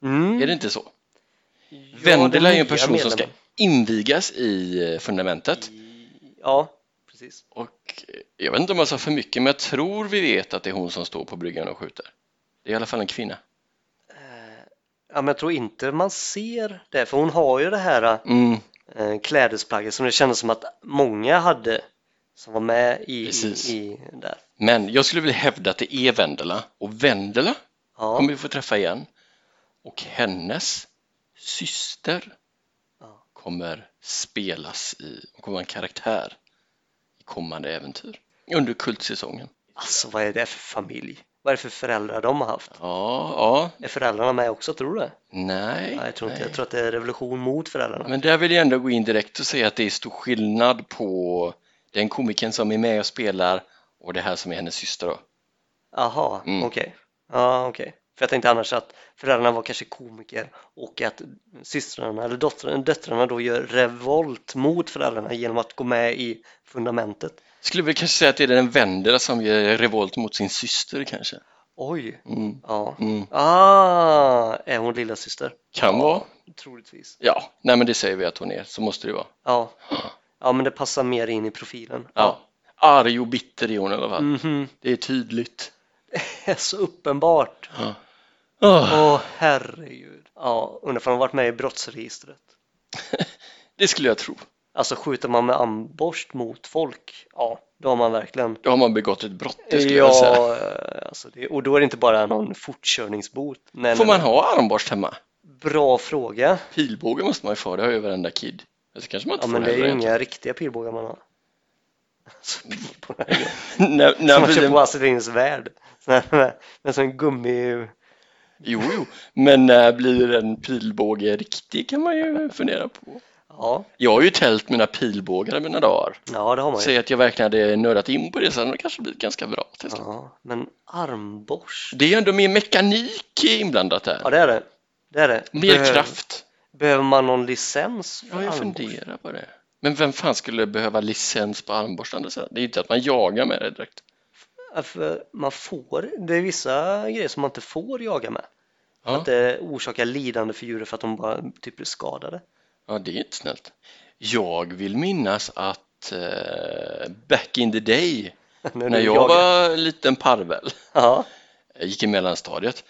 mm.
Är det inte så?
Ja,
Vendela är ju en
nya
person som ska
medlemmen.
invigas i eh, fundamentet.
Ja, precis.
Och eh, jag vet inte om jag sa för mycket, men jag tror vi vet att det är hon som står på bryggan och skjuter. Det är i alla fall en kvinna.
Ja, men jag tror inte man ser det, för hon har ju det här
Mm,
eh, klädesplagget som det kändes som att många hade som var med i, i,
Precis.
i där.
Men jag skulle vilja hävda att det är Vendela. Och Vendela
Ja,
kommer vi få träffa igen. Och hennes syster
Ja.
kommer spelas i, hon kommer vara en karaktär i kommande äventyr under kultsäsongen.
alltså vad är det för familj? Vad är det för föräldrar de har haft?
Ja, ja,
Är föräldrarna med också, tror du det?
nej.
Nej, jag tror inte.
nej.
Jag tror att det är revolution mot föräldrarna.
Men där vill jag ändå gå in direkt och säga att det är stor skillnad på den komikern som är med och spelar och det här som är hennes syster då.
Aha,
Mm.
okej. Ja, okej. För jag tänkte annars att föräldrarna var kanske komiker och att systrarna eller dottern, döttrarna då gör revolt mot föräldrarna genom att gå med i fundamentet.
Skulle vi kanske säga att det är den Vendela som gör revolt mot sin syster kanske?
Oj,
Mm.
ja.
Mm.
Ah, är hon lilla syster?
Kan vara.
Troligtvis.
Ja, nej men det säger vi att hon är, så måste det vara.
Ja. Ja, men det passar mer in i profilen.
Ja. Arg och bitter är hon i alla fall.
Mhm,
Det är tydligt.
det är så uppenbart.
Åh,
Åh, herregud. Ja, undrar om de varit med i brottsregistret.
Det skulle jag tro.
Alltså skjuter man med amborst mot folk, ja, då har man verkligen
Då har man begått ett brott, det skulle jag säga.
Ja, eh, alltså det, och då är det inte bara någon fortkörningsbot. Nej,
Får
nej,
man ha armborst hemma?
nej. Bra fråga.
Pilbåge måste man ju få, det har ju varenda kid. Men så kanske man inte
Ja,
får
men det är ju
heller
inga riktiga pilbågar man har. Alltså pilbågar. är ju-
egentligen. när, när
Som man
blir
köper
det-
på Astrid Lindgrens Värld. Såna här- Med sån gummi...
Jo, jo, men när blir en pilbåge riktig kan man ju fundera på.
Ja,
Jag har ju tält mina pilbågar i mina dagar.
ja det har man ju.
Säg att jag verkligen hade nördat in på det så hade det kanske blivit ganska bra till slut.
Ja, men armborst?
Det är ju ändå mer mekanik inblandat
Ja,
där.
det är det. Det är det.
Mer
Behöver-
kraft.
Behöver man någon licens för
Ja, jag
armborst?
funderar på det. Men vem fan skulle behöva licens på armborst å andra sidan? Det är ju inte att man jagar med det direkt.
Ja, för man får, det är vissa grejer som man inte får jaga med.
Ja.
Att det orsakar lidande för djuren för att de bara typ blir skadade.
Ja, det är inte snällt. Jag vill minnas att eh, back in the day, när
du
jag
jagar.
var liten parvel,
Ja,
jag gick i mellanstadiet,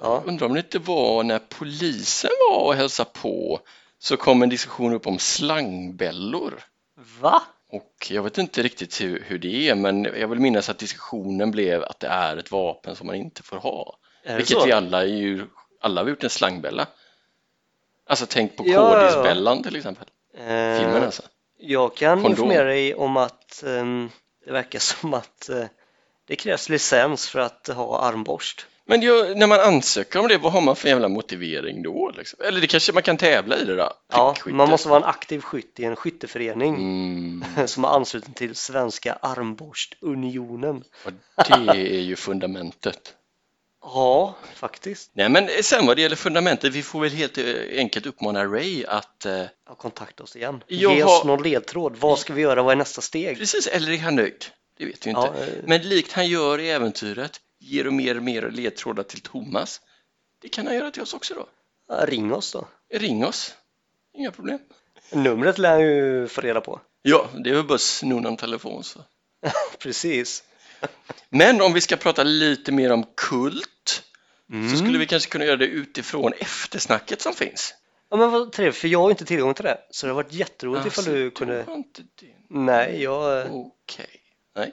Ja.
Undrar om det inte var när polisen var och hälsade på så kom en diskussion upp om slangbällor.
Va?
Och jag vet inte riktigt hur, hur det är, men jag vill minnas att diskussionen blev att det är ett vapen som man inte får ha.
Är det
Vilket
så?
vi alla är ju, alla har gjort en slangbälla. Alltså tänk på
Ja, ja, ja.
kodisbällan till exempel,
Eh,
filmen alltså.
Jag kan
Kondom.
informera dig om att ehm, det verkar som att eh, det krävs licens för att ha armborst.
Men jag, när man ansöker om det, vad har man för jävla motivering då? Liksom? Eller det kanske man kan tävla i det då?
Ja,
Prickskytte.
man måste vara en aktiv skytt i en skytteförening
Mm,
som är ansluten till Svenska armborstunionen.
och det är ju fundamentet.
Ja, faktiskt.
Nej men sen vad det gäller fundamentet, vi får väl helt eh, enkelt uppmana Ray att eh,
Ja, kontakta oss igen.
Jag
Ge
har-
oss någon ledtråd. Vad ska vi göra? Vad är nästa steg?
Precis, eller är han nöjd? Det vet vi inte.
Ja, eh.
Men likt han gör i äventyret, ger du mer och mer ledtrådar till Thomas. Det kan han göra till oss också då.
Ja, Ring oss då.
Ring oss, inga problem.
Numret lär han ju få reda på.
Ja, det är väl bara att sno någon telefon så.
Precis.
Men om vi ska prata lite mer om kult så
Mm.
skulle vi kanske kunna göra det utifrån eftersnacket som finns.
Ja, men vad trevligt, för jag har ju inte tillgång till det. Så det har varit jätteroligt ifall
Alltså,
du
det
kunde...
var inte det.
Nej, jag...
Oh.
eh,
Okej. Nej.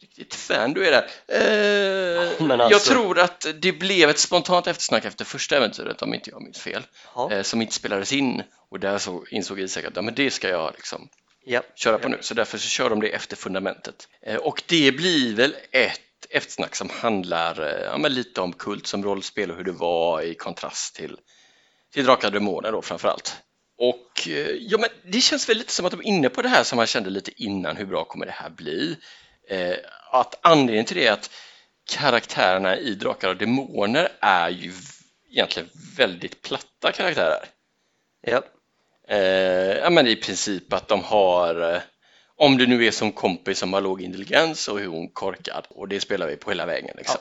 Riktigt fan du är där. Eh,
Men
Jag
alltså-
tror att det blev ett spontant eftersnack efter första äventyret om inte jag minns fel.
Ja.
Eh, som inte spelades in och där så insåg Isak att ja, men det ska jag liksom
Ja.
köra på nu. Så därför så kör de det efter fundamentet. Eh, och det blir väl ett eftersnack som handlar eh, ja, men lite om kult som rollspel och hur det var i kontrast till, till Drakar och Demoner då framförallt. Och eh, ja, men det känns väl lite som att de är inne på det här som man kände lite innan, hur bra kommer det här bli? Eh, att anledningen till det är att karaktärerna i Drakar och Demoner är ju v- egentligen väldigt platta karaktärer.
Ja.
Eh, ja, men i princip att de har, eh, om det nu är som kompis som har låg intelligens och hur hon korkad och det spelar vi på hela vägen liksom.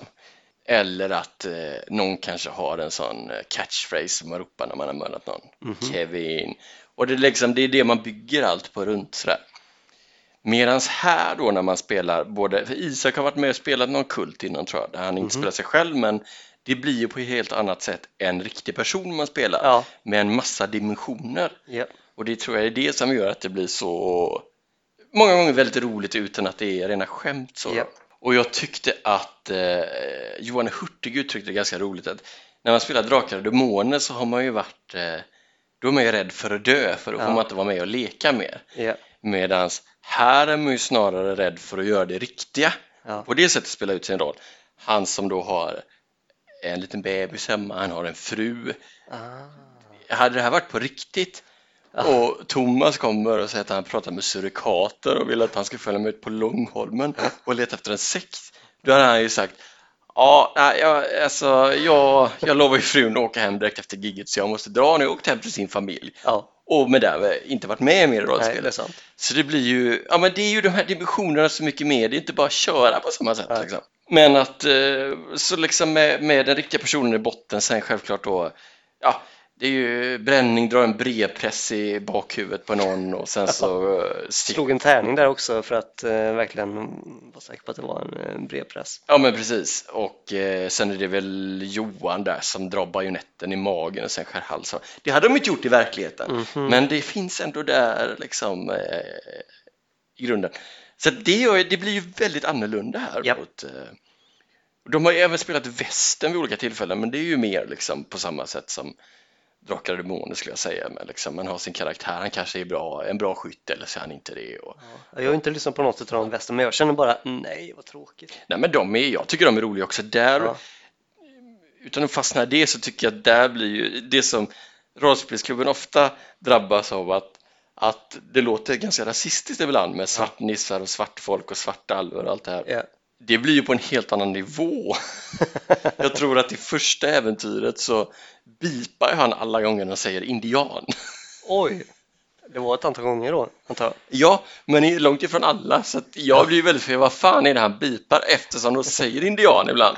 Eller att eh, någon kanske har en sån eh, catchphrase som man ropar när man har mördat någon. Kevin. Och det är, liksom, det är det man bygger allt på runt sådär. Medans här då när man spelar både, för Isak har varit med och spelat någon kult innan tror jag, där han inte spelar sig själv men det blir ju på ett helt annat sätt en riktig person man spelar
Ja.
med en massa dimensioner.
ja.
Och det tror jag är det som gör att det blir så många gånger väldigt roligt utan att det är rena skämt. Så.
Ja.
Och jag tyckte att eh, Johan Hurtig uttryckte det ganska roligt att när man spelar Drakar och Demoner så har man ju varit eh, då är man ju rädd för att dö för då får
Ja.
man inte vara med och leka mer.
ja.
Medan här är man ju snarare rädd för att göra det riktiga.
Ja.
På det sättet spelar ut sin roll. Han som då har en liten bebis hemma, han har en fru,
Ah.
hade det här varit på riktigt och Thomas kommer och säger att han pratar med surikater och vill att han ska följa med ut på Långholmen och leta efter en sekt då hade han ju sagt Ja, nej, jag, alltså, jag, jag lovar ju frun att åka hem direkt efter gigget så jag måste dra nu och åkt hem till sin familj
Ja.
och med det här, inte varit med mer i
Nej, det är
rollspelet.
sant.
Så det blir ju, ja men det är ju de här dimensionerna så mycket mer, det är inte bara att köra på samma sätt liksom. Men att, eh, så liksom med, med den riktiga personen i botten sen självklart då, ja det är ju bränning, dra en brevpress i bakhuvudet på någon och sen så eh, stick,
Slog en tärning där också för att eh, verkligen vara säker på att det var en, en bred press.
Ja men precis och eh, sen är det väl Johan där som drar bajonetten i magen och sen skär halsen. Det hade de inte gjort i verkligheten men det finns ändå där liksom eh, i grunden. Så det, gör, ju- det blir ju väldigt annorlunda här.
Japp.
Mot, eh, de har ju även spelat västern vid olika tillfällen men det är ju mer liksom på samma sätt som Drakar och Demoner skulle jag säga. Men liksom, man har sin karaktär, han kanske är bra, en bra skytt eller så är han inte det. Och,
Ja, Jag har inte lyssnat på något av de bästa, men jag känner bara nej, vad tråkigt.
Nej men de är, jag tycker de är roliga också. Där,
Ja.
Utan att fastna i det så tycker jag att där blir ju det som rollspelsklubben ofta drabbas av att, att det låter ganska rasistiskt ibland med svartnissar och svartfolk och svarta alver och allt det här.
Ja.
Det blir ju på en helt annan nivå. jag tror att i första äventyret så bipar han alla gånger han säger indian.
Oj, det var ett antal gånger då, antar jag.
Ja, men i- långt ifrån alla så att jag blir ju väldigt förvirrad. Vad fan är det han bipar eftersom de säger indian ibland?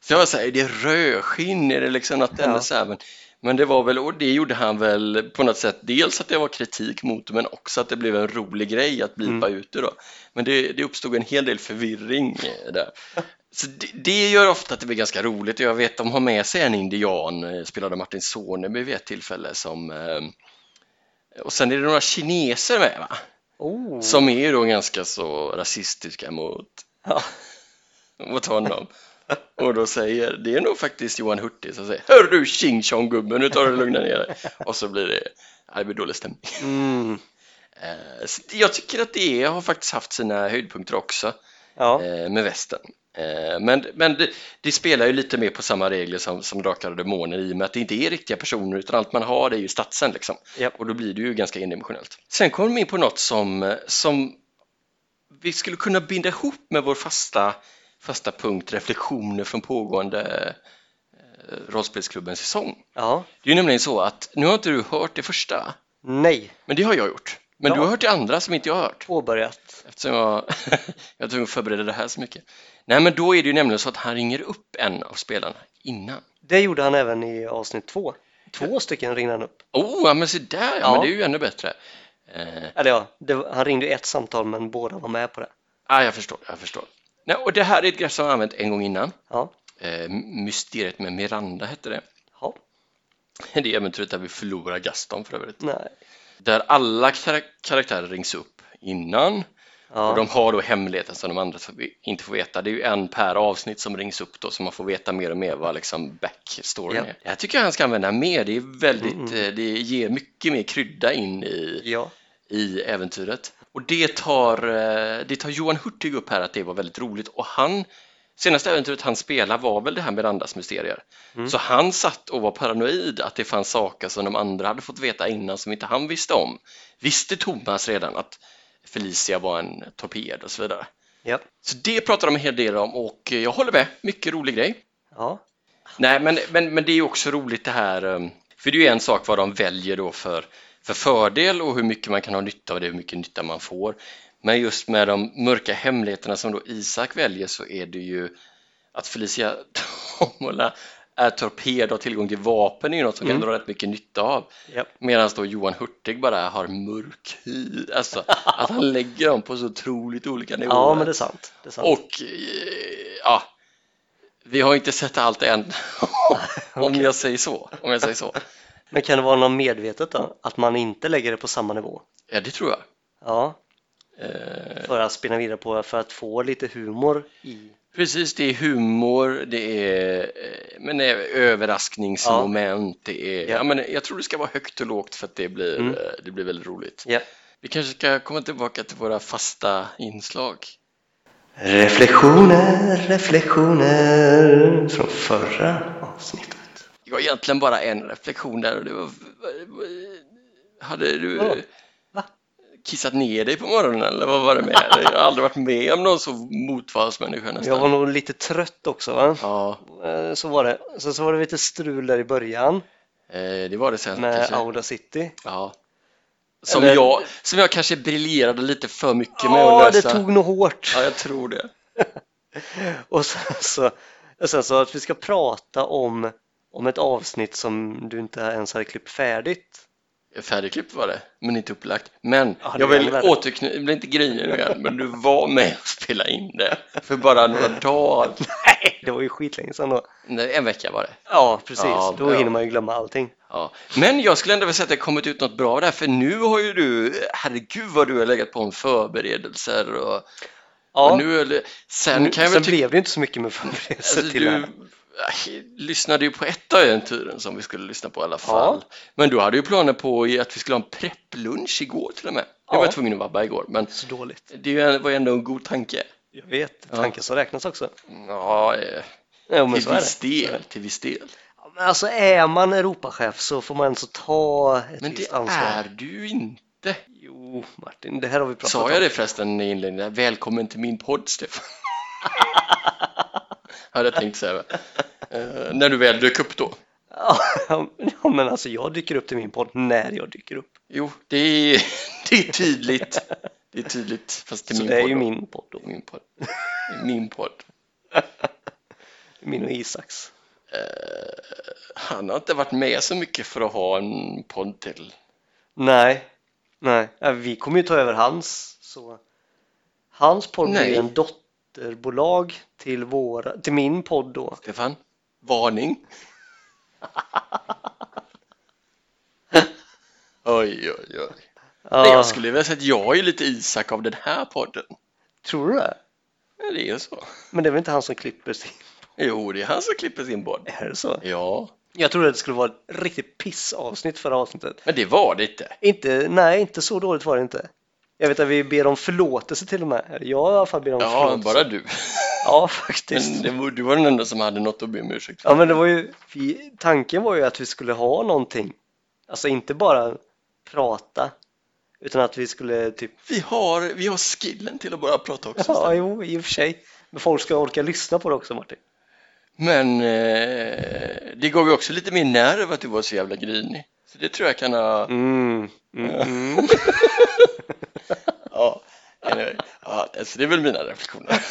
Så jag säger, är det rödskinn? Är det liksom något
Ja.
ja. så här? Men, Men det var väl, och det gjorde han väl på något sätt, dels att det var kritik mot det, men också att det blev en rolig grej att blipa ut det då. Men det, det uppstod en hel del förvirring eh, där. Så det, det gör ofta att det blir ganska roligt och jag vet de har med sig en indian, eh, spelad av Martin Soneby vid ett tillfälle som eh, och sen är det några kineser med va?
Oh.
Som är ju då ganska så rasistiska mot,
Ja.
mot honom. Och då säger, det är nog faktiskt Johan Hurtig som säger Hör du tjing tjong gubben, nu tar du och lugnar ner dig. Och så blir det, ja, det blir dålig stämning.
Mm.
Eh, så jag tycker att det har faktiskt haft sina höjdpunkter också
Ja.
eh, med västen. Eh, Men, men det, det spelar ju lite mer på samma regler som, som Drakar och Demoner i och med att det inte är riktiga personer utan allt man har är ju statsen liksom.
Japp.
Och då blir det ju ganska endimensionellt. Sen kom de in på något som, som vi skulle kunna binda ihop med vår fasta, fasta punkt reflektioner från pågående eh, rollspelsklubbens säsong.
ja.
Det är ju nämligen så att, nu har inte du hört det första,
Nej.
men det har jag gjort. Men
Ja.
du har hört det andra som inte jag har hört.
Påbörjat.
Eftersom jag, jag tror jag förberedde det här så mycket. Nej men då är det ju nämligen så att han ringer upp en av spelarna innan.
Det gjorde han även i avsnitt två. Två stycken ringde han upp.
Oh, ja, men se där, ja.
Ja.
men det är ju ännu bättre. Eh,
Eller ja, det, var- han ringde ju ett samtal men båda var med på det.
ah, jag förstår, jag förstår. Nej, och det här är ett grepp som jag har använt en gång innan.
Ja.
Eh, Mysteriet med Miranda hette det.
Ja.
Det är äventyret där vi förlorar Gaston för övrigt.
Nej.
Där alla kar- karaktärer rings upp innan
Ja.
och de har då hemligheten som de andra inte får veta. Det är ju en per avsnitt som rings upp då så man får veta mer och mer vad liksom backstoryn
Ja.
är. Det här tycker jag han ska använda mer. Det är väldigt, eh, det ger mycket mer krydda in i,
ja.
i äventyret. Och det tar, eh, det tar Johan Hurtig upp här att det var väldigt roligt och han Senaste äventyret han spelade var väl det här med Randas mysterier. Så han satt och var paranoid att det fanns saker som de andra hade fått veta innan som inte han visste om. Visste Thomas redan att Felicia var en torped och så vidare.
Ja.
Så det pratar de en hel del om och jag håller med, mycket rolig grej.
Ja.
Nej, men, men, men det är ju också roligt det här, ehm, för det är ju en sak vad de väljer då för, för fördel och hur mycket man kan ha nytta av det, hur mycket nytta man får. Men just med de mörka hemligheterna som då Isak väljer så är det ju att Felicia Tombola är torped och har tillgång till vapen är ju något som kan
Mm.
dra rätt mycket nytta av.
Ja.
Medan då Johan Hurtig bara har mörk hy, alltså att han lägger dem på så otroligt olika nivåer.
ja, men det är sant. Det är sant.
Och eh, ja, vi har inte sett allt än, om jag säger så. Om jag säger så.
Men kan det vara något medvetet då? Att man inte lägger det på samma nivå?
Ja, det tror jag.
Ja,
Eh,
för att spinna vidare på för att få lite humor i.
precis, det är humor, det är, eh, men det är överraskningsmoment. Det är,
Ja.
ja, men jag tror det ska vara högt och lågt för att det blir,
Mm.
eh, det blir väldigt roligt.
Ja.
Vi kanske ska komma tillbaka till våra fasta inslag.
Reflektioner, reflektioner från förra avsnittet.
Det var egentligen bara en reflektion där och det var... Hade du
Ja. Va?
kissat ner dig på morgonen eller vad var det med dig? Jag har aldrig varit med om någon så motvalsmänniska nästan.
Jag var nog lite trött också va?
Ja,
Eh, Så var det. Sen så var det lite strul där i början
eh, det var det sen
med
kanske.
Aula City.
Ja. Som,
Eller-
jag, som jag kanske briljerade lite för mycket med
Ja,
att
det
lösa.
tog nog hårt.
Ja, jag tror det.
Och sen så, och sen så att vi ska prata om, om ett avsnitt som du inte ens hade klippt färdigt.
Färdigklippt var det, men inte upplagt. Men
Ja, det
jag
är
vill
ännu värre.
återknyta, jag blir inte grinig nu igen, men du var med och spelade in det för bara några dagar.
Nej, det var ju skitlänge sedan då.
Nej, en vecka var det.
Ja, precis.
Ja,
då
ja.
hinner man ju glömma allting.
Ja. Men jag skulle ändå vilja säga att det har kommit ut något bra där, för nu har ju du, herregud vad du har legat på om förberedelser och,
Ja,
och nu, är det- sen
nu,
kan jag
sen
väl tycka,
blev det ju inte så mycket med förberedelser
alltså,
till
du
det här.
äh, lyssnade ju på ett av äventyren som vi skulle lyssna på i alla fall. Men du hade ju planer på att vi skulle ha en prepplunch igår till och med. Jag
Ja.
var tvungen att vabba igår, men
Så dåligt.
det är ju en- var ju ändå en god tanke.
Jag vet,
Ja.
tanken som räknas också.
Ja, eh,
Jo, men
till
så är
viss
det.
del, till viss del.
Ja, Men alltså är man Europachef så får man så ta ett
Men det
visst ansvar.
är du inte.
Jo, Martin, det här har vi pratat
Sa
om.
jag det förresten i inledningen? Välkommen till min podd Stefan. Hade jag tänkt säga. Eh, när du väl dök upp då.
Ja, men alltså jag dyker upp till min podd när jag dyker upp.
Jo, det är, det är tydligt. Det är tydligt, fast till
så
min
det är
podd.
ju
då.
min podd då.
Min podd. Min podd.
Min och Isaks.
Eh, han har inte varit med så mycket för att ha en podd till.
Nej, nej, Ja, vi kommer ju ta över hans. Så. Hans podd blir
Nej.
en dotterbolag till, våra, till min podd då.
Stefan, varning! oj, oj, oj. Nej,
Ja,
jag skulle vilja säga att jag är lite Isak av den här podden.
Tror du det?
Ja, det är ju så.
Men det är väl inte han som klipper sin?
Jo, det är han som klipper sin podd.
Är det så?
Ja,
Jag trodde att det skulle vara ett riktigt pissavsnitt förra avsnittet.
men det var det inte.
Inte, nej, inte så dåligt var det inte. Jag vet att vi ber om förlåtelse till och med. Eller Jag i alla fall ber om
Ja,
förlåtelse.
bara du.
Ja, faktiskt.
Men det var, du var den enda som hade något att be om ursäkt för.
Ja, men det var ju, vi, tanken var ju att vi skulle ha någonting. Alltså inte bara prata, utan att vi skulle typ,
Vi har, vi har skillen till att börja prata också.
ja, jo, i och för sig. Men folk ska orka lyssna på det också, Martin.
Men eh, det gav ju också lite mer nerv att du var så jävla grinig. Så det tror jag kan ha...
Mm, mm.
Ja, anyway. ja alltså det är väl mina reflektioner.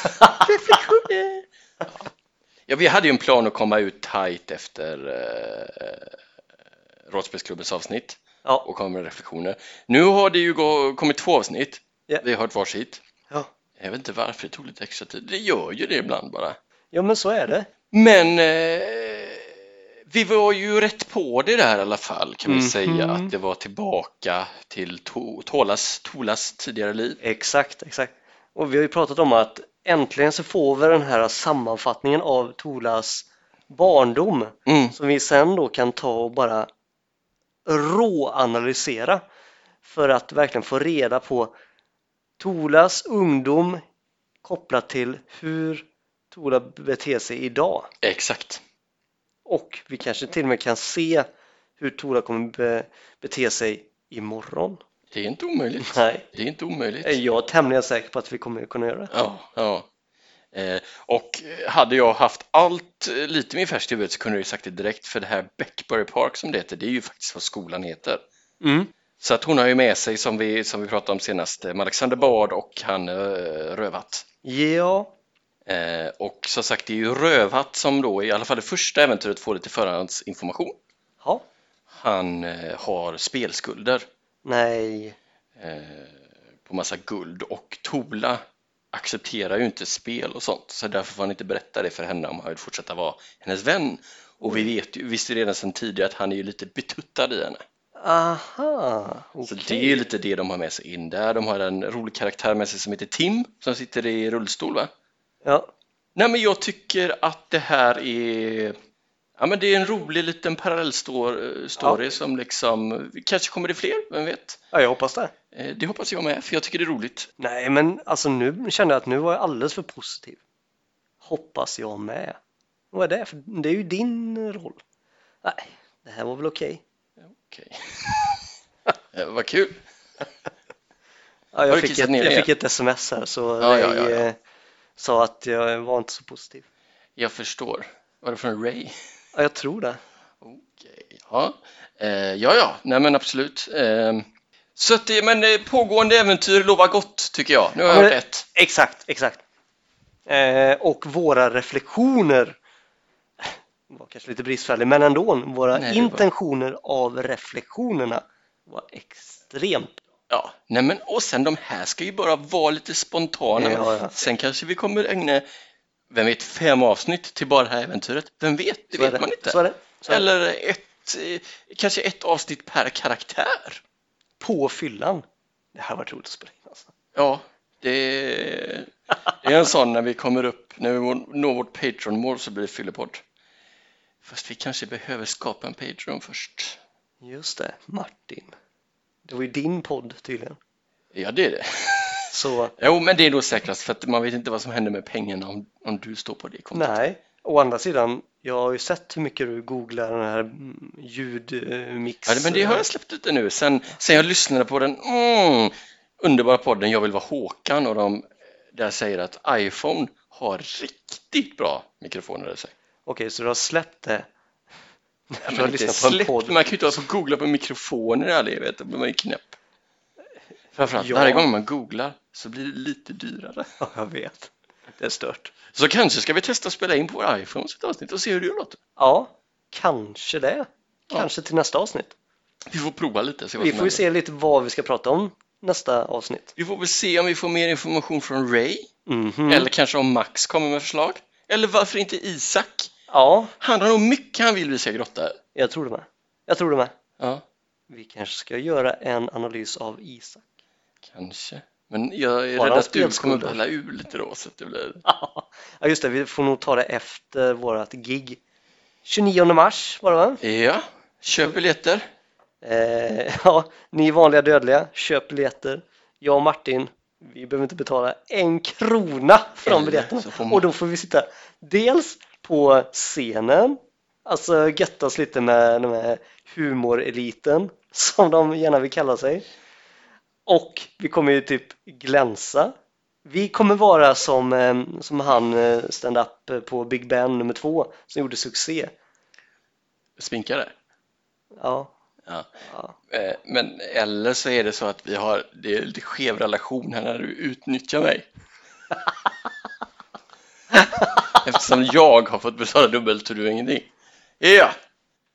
Reflektioner.
Ja, vi hade ju en plan att komma ut tight efter eh, Rådspelsklubbens avsnitt
Ja,
och komma med reflektioner. Nu har det ju gå, kommit två avsnitt.
Ja.
Vi har hört varsitt.
Ja.
Jag vet inte varför det tog lite extra tid. Det gör ju det ibland bara.
ja, men så är det.
Men eh, vi var ju rätt på det där i alla fall kan vi
Mhm.
säga att det var tillbaka till to- Tolas, Tolas tidigare liv.
Exakt, exakt. Och vi har ju pratat om att äntligen så får vi den här sammanfattningen av Tolas barndom
Mm.
som vi sen då kan ta och bara råanalysera för att verkligen få reda på Tolas ungdom kopplat till hur Tola beter sig idag.
Exakt.
Och vi kanske till och med kan se hur Tola kommer be- bete sig imorgon.
Det är inte omöjligt.
Nej,
Det är inte omöjligt.
jag är tämligen säker på att vi kommer kunna göra det.
Ja, ja. Eh, och hade jag haft allt eh, lite mer färskt i huvudet så kunde jag ju sagt det direkt för det här Beckbury Park som det heter, det är ju faktiskt vad skolan heter.
Mm.
Så att hon har ju med sig som vi, som vi pratade om senast, eh, Alexander Bard och han eh, Rövat.
Ja,
Eh, och som sagt, det är ju Rövhatt som då i alla fall det första äventyret får lite förhandsinformation.
ja,
Han eh, har spelskulder
nej,
eh, på massa guld och Tola accepterar ju inte spel och sånt så därför får han inte berätta det för henne om han vill fortsätta vara hennes vän. Och vi vet ju, visste ju redan sedan tidigare att han är ju lite betuttad i henne.
aha, okej.
Så det är ju lite det de har med sig in där. De har en rolig karaktär med sig som heter Tim som sitter i rullstol va?
Ja,
Nej, men jag tycker att det här är Ja, men det är en rolig liten parallellstory story
Ja.
som liksom, kanske kommer det fler, vem vet?
ja, jag hoppas det.
Eh, Det hoppas jag med, för jag tycker det är roligt.
Nej, men alltså nu kände jag att nu var jag alldeles för positiv. Hoppas jag med. Vad är det? För det är ju din roll. Nej, det här var väl okej.
Okej. Eh, Vad kul!
Ja,
Har
jag,
du
fick
kissat
ett,
ner
jag
igen?
fick ett sms här så
Ja, ja, ja,
Ray,
ja.
eh, sa att jag var inte så positiv.
Jag förstår. Var det från Ray?
Ja, jag tror det.
Okej, Ja, Eh, ja, ja, nej men absolut. Eh, Så att det, men eh, pågående äventyr lovar gott, tycker jag. Nu har jag
Ja, men-
hört ett.
Exakt, exakt. Eh, och våra reflektioner var kanske lite bristfällig, men ändå. Våra
Nej, det var-
intentioner av reflektionerna var extremt.
Ja, nej men och sen de här ska ju bara vara lite spontana.
Ja, ja.
Sen kanske vi kommer ägna, vem vet, fem avsnitt till bara det här äventyret. Vem vet, det
Så är
vet
det.
man inte.
Så är det. Så är det.
Eller ett, eh, kanske ett avsnitt per karaktär.
på fyllan. Det här var roligt att spela in alltså.
Ja, det, det är en sån när vi kommer upp, när vi når vårt Patreon-mål så blir det fyllepodd. Fast vi kanske behöver skapa en Patreon först.
Just det, Martin. Det var ju din podd tydligen.
Ja, det är det.
Så
Jo, men det är då säkrast för att man vet inte vad som händer med pengarna om, om du står på det kontot.
nej, å andra sidan, jag har ju sett hur mycket du googlar den här mm, ljudmix.
Ja, men det har jag släppt ut nu. Sen, sen jag lyssnade på den mm, underbara podden Jag vill vara Håkan och de där säger att iPhone har riktigt bra mikrofoner alltså. i sig.
Okej, så du har släppt det.
Ja,
du har
men inte
lyssnat på en
släppt,
podd.
Man kan ju inte alltså googla på mikrofoner i all evighet, då blir man ju knäpp. Framförallt
Ja.
varje gång man googlar så blir det lite dyrare.
Ja, jag vet. Det är stört.
Så kanske ska vi testa att spela in på vår iPhone ett avsnitt och se hur det låter.
Ja, kanske det. Kanske till nästa avsnitt.
Vi får prova lite. Se vad
Vi
som
får
händer.
ju se lite vad vi ska prata om nästa avsnitt.
Vi får väl se om vi får mer information från Ray.
Mhm.
Eller kanske om Max kommer med förslag. Eller varför inte Isak?
Ja,
Han har nog mycket han vill vi ska grotta i.
jag tror det med. Jag tror det med.
Ja,
Vi kanske ska göra en analys av Isak.
kanske. Men jag är
Har
rädd
han
att du kommer
spelskulder?
balla ur lite då så att det blir...
Ja, just det. Vi får nog ta det efter vårt gig. 29 mars var det va?
Ja, köp biljetter.
Eh, ja, ni vanliga dödliga, köp biljetter. Jag och Martin, vi behöver inte betala en krona för de
Eller
biljetterna.
så får man-
Och då får vi sitta dels på scenen, alltså göttas lite med den här humoreliten som de gärna vill kalla sig. Och vi kommer ju typ glänsa. Vi kommer vara som, eh, som han eh, stand-up på Big Ben nummer två som gjorde succé.
Sminkare.
Ja,
Ja.
ja.
Eh, Men eller så är det så att vi har, det är lite skev relation här när du utnyttjar mig. Eftersom jag har fått betala dubbelt och du ingenting. Ja,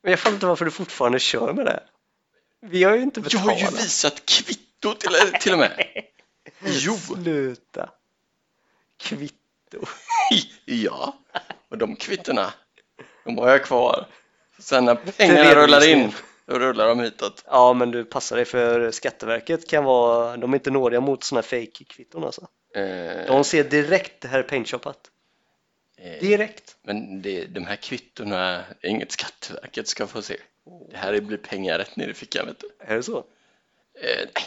Men jag fattar inte varför du fortfarande kör med det. Vi har ju inte
jag har
betalat.
ju visat kvitto till, eh, till och med. Jo,
Sluta. Kvitto.
ja. Och de kvittorna, de har jag kvar. Sen när pengarna rullar in, då rullar de hitåt.
Ja, men du passar dig för Skatteverket kan vara, de är inte nådiga mot sådana fake kvitton alltså.
Eh,
De ser direkt det här är paintshoppat.
eh,
Direkt.
Men det, de här kvittorna är inget Skatteverket ska få se. Det här blir pengar rätt ner i fickan vet du.
Är det så?
Eh, nej.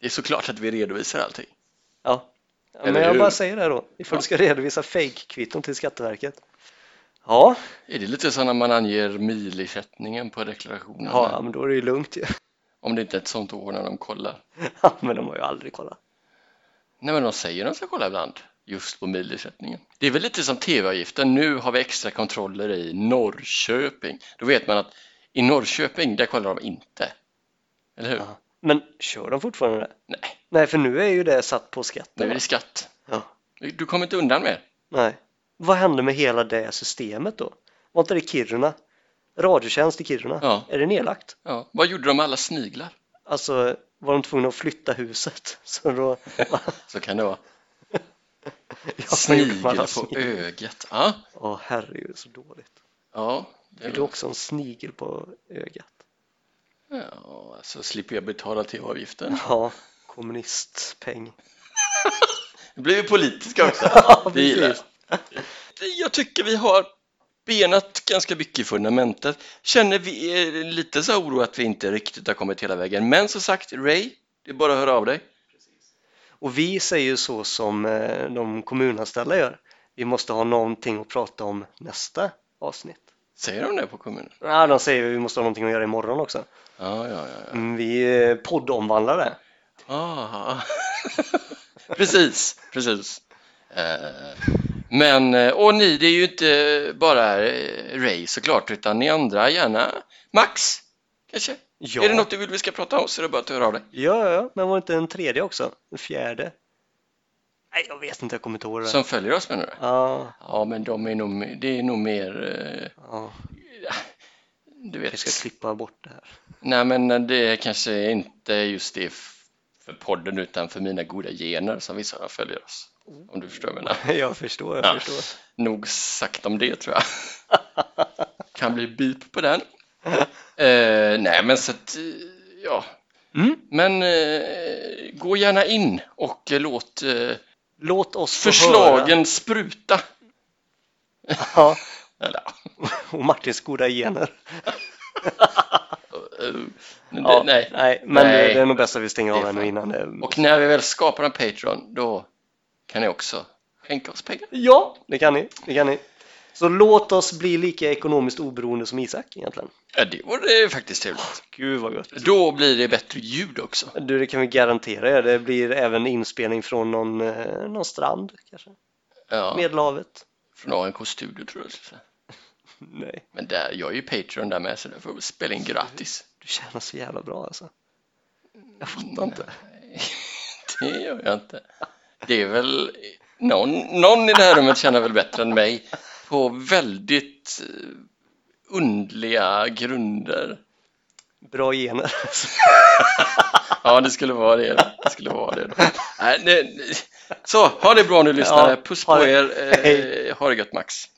Det är såklart att vi redovisar allting.
Ja. ja men
Eller
jag
hur?
bara säger det här då, ifall du ska redovisa fake-kvitton till Skatteverket. Ja,
Är det lite så när man anger milersättningen på deklarationen?
ja men då är det ju lugnt ju.
Om det inte är ett sånt år när de kollar.
Ja, men de har ju aldrig kollat.
Nej men de säger de ska kolla ibland. Just på milersättningen. Det är väl lite som tv-avgiften. Nu har vi extra kontroller i Norrköping. Då vet man att i Norrköping, där kollar de inte. Eller hur?
Ja. Men kör de fortfarande det?
Nej,
Nej, för nu är ju det satt på skatten.
nu är
va?
det skatt.
Ja.
Du kommer inte undan mer.
Nej. Vad hände med hela det systemet då? Var inte det Kiruna? Radiotjänst i Kiruna?
Ja.
Är det nedlagt?
Ja. Vad gjorde de med alla sniglar?
Alltså, var de tvungna att flytta huset? Så då...
Så kan det vara.
Ja, vad gjorde man
Sniglar
alltså?
på ögat. Ja,
Åh, herregud, så dåligt.
ja. det-
Fick du också en snigel på ögat?
ja så slipper jag betala till avgiften.
Ja, kommunistpeng.
Nu blir vi politiska också.
Ja,
Det gillar jag.
precis.
Jag tycker vi har benat ganska mycket i fundamentet. Känner vi är lite så här oro att vi inte riktigt har kommit hela vägen. Men som sagt, Ray, det är bara att höra av dig.
Och vi säger ju så som eh, de kommunanställda gör. Vi måste ha någonting att prata om nästa avsnitt.
Säger de det på kommunen?
Ja, de säger vi måste ha någonting att göra imorgon också.
Ja, ja, ja. ja.
Mm, Vi eh, poddomvandlar det.
Ah. precis, precis. Eh, Men, eh, och ni, det är ju inte bara eh, Ray såklart, utan ni andra gärna. Max, kanske?
Ja.
Är det något du vill vi ska prata om så är det bara att höra av dig.
Ja, ja, ja, men var det inte en tredje också? En fjärde? Nej, jag vet inte, jag kommer inte ihåg det.
Som följer oss menar du?
Ja,
Ja, men de är nog, det är nog mer,
ja,
eh, du vet.
jag ska klippa bort det här.
Nej, men eh, det kanske är inte just det f- för podden utan för mina goda gener som vissa följer oss. Om du förstår vad jag menar.
Jag förstår, jag
Ja.
förstår.
Nog sagt om det tror jag. kan bli beep på den. Eh, nej men så att, eh, ja.
Mm.
Men eh, gå gärna in och eh, låt eh,
Låt oss få höra.
förslagen spruta.
Ja,
Eller, ja.
och Martins goda gener.
Eh,
Ja,
det- nej.
nej, men
Nej.
det är nog bäst att vi stänger
Det
av
är
henne
fan-
innan det...
Och när vi väl skapar en Patreon då kan ni också skänka oss pengar.
Ja, det kan ni. Det kan ni. Så låt oss bli lika ekonomiskt oberoende som Isak egentligen.
Ja, det vore faktiskt trevligt.
Gud vad gött.
Då blir det bättre ljud också.
Du, det kan vi garantera er. Det blir även inspelning från någon, eh, någon strand kanske.
Ja,
Medelhavet.
från ANK Studio tror jag.
Nej.
Men där, jag är ju Patreon där med så där får vi spela in gratis.
Du tjänar så jävla bra alltså. Jag
Mm.
fattar inte.
Det gör jag inte. Det är väl någon, någon i det här rummet känner väl bättre än mig på väldigt eh, undliga grunder.
Bra gener. alltså.
Ja, det skulle vara det. Det skulle vara det. Då. Nej, nej, nej. Så, ha det bra nu lyssnare.
Ja,
Puss
ha
på
det.
er.
Hej.
Eh, ha det gött Max.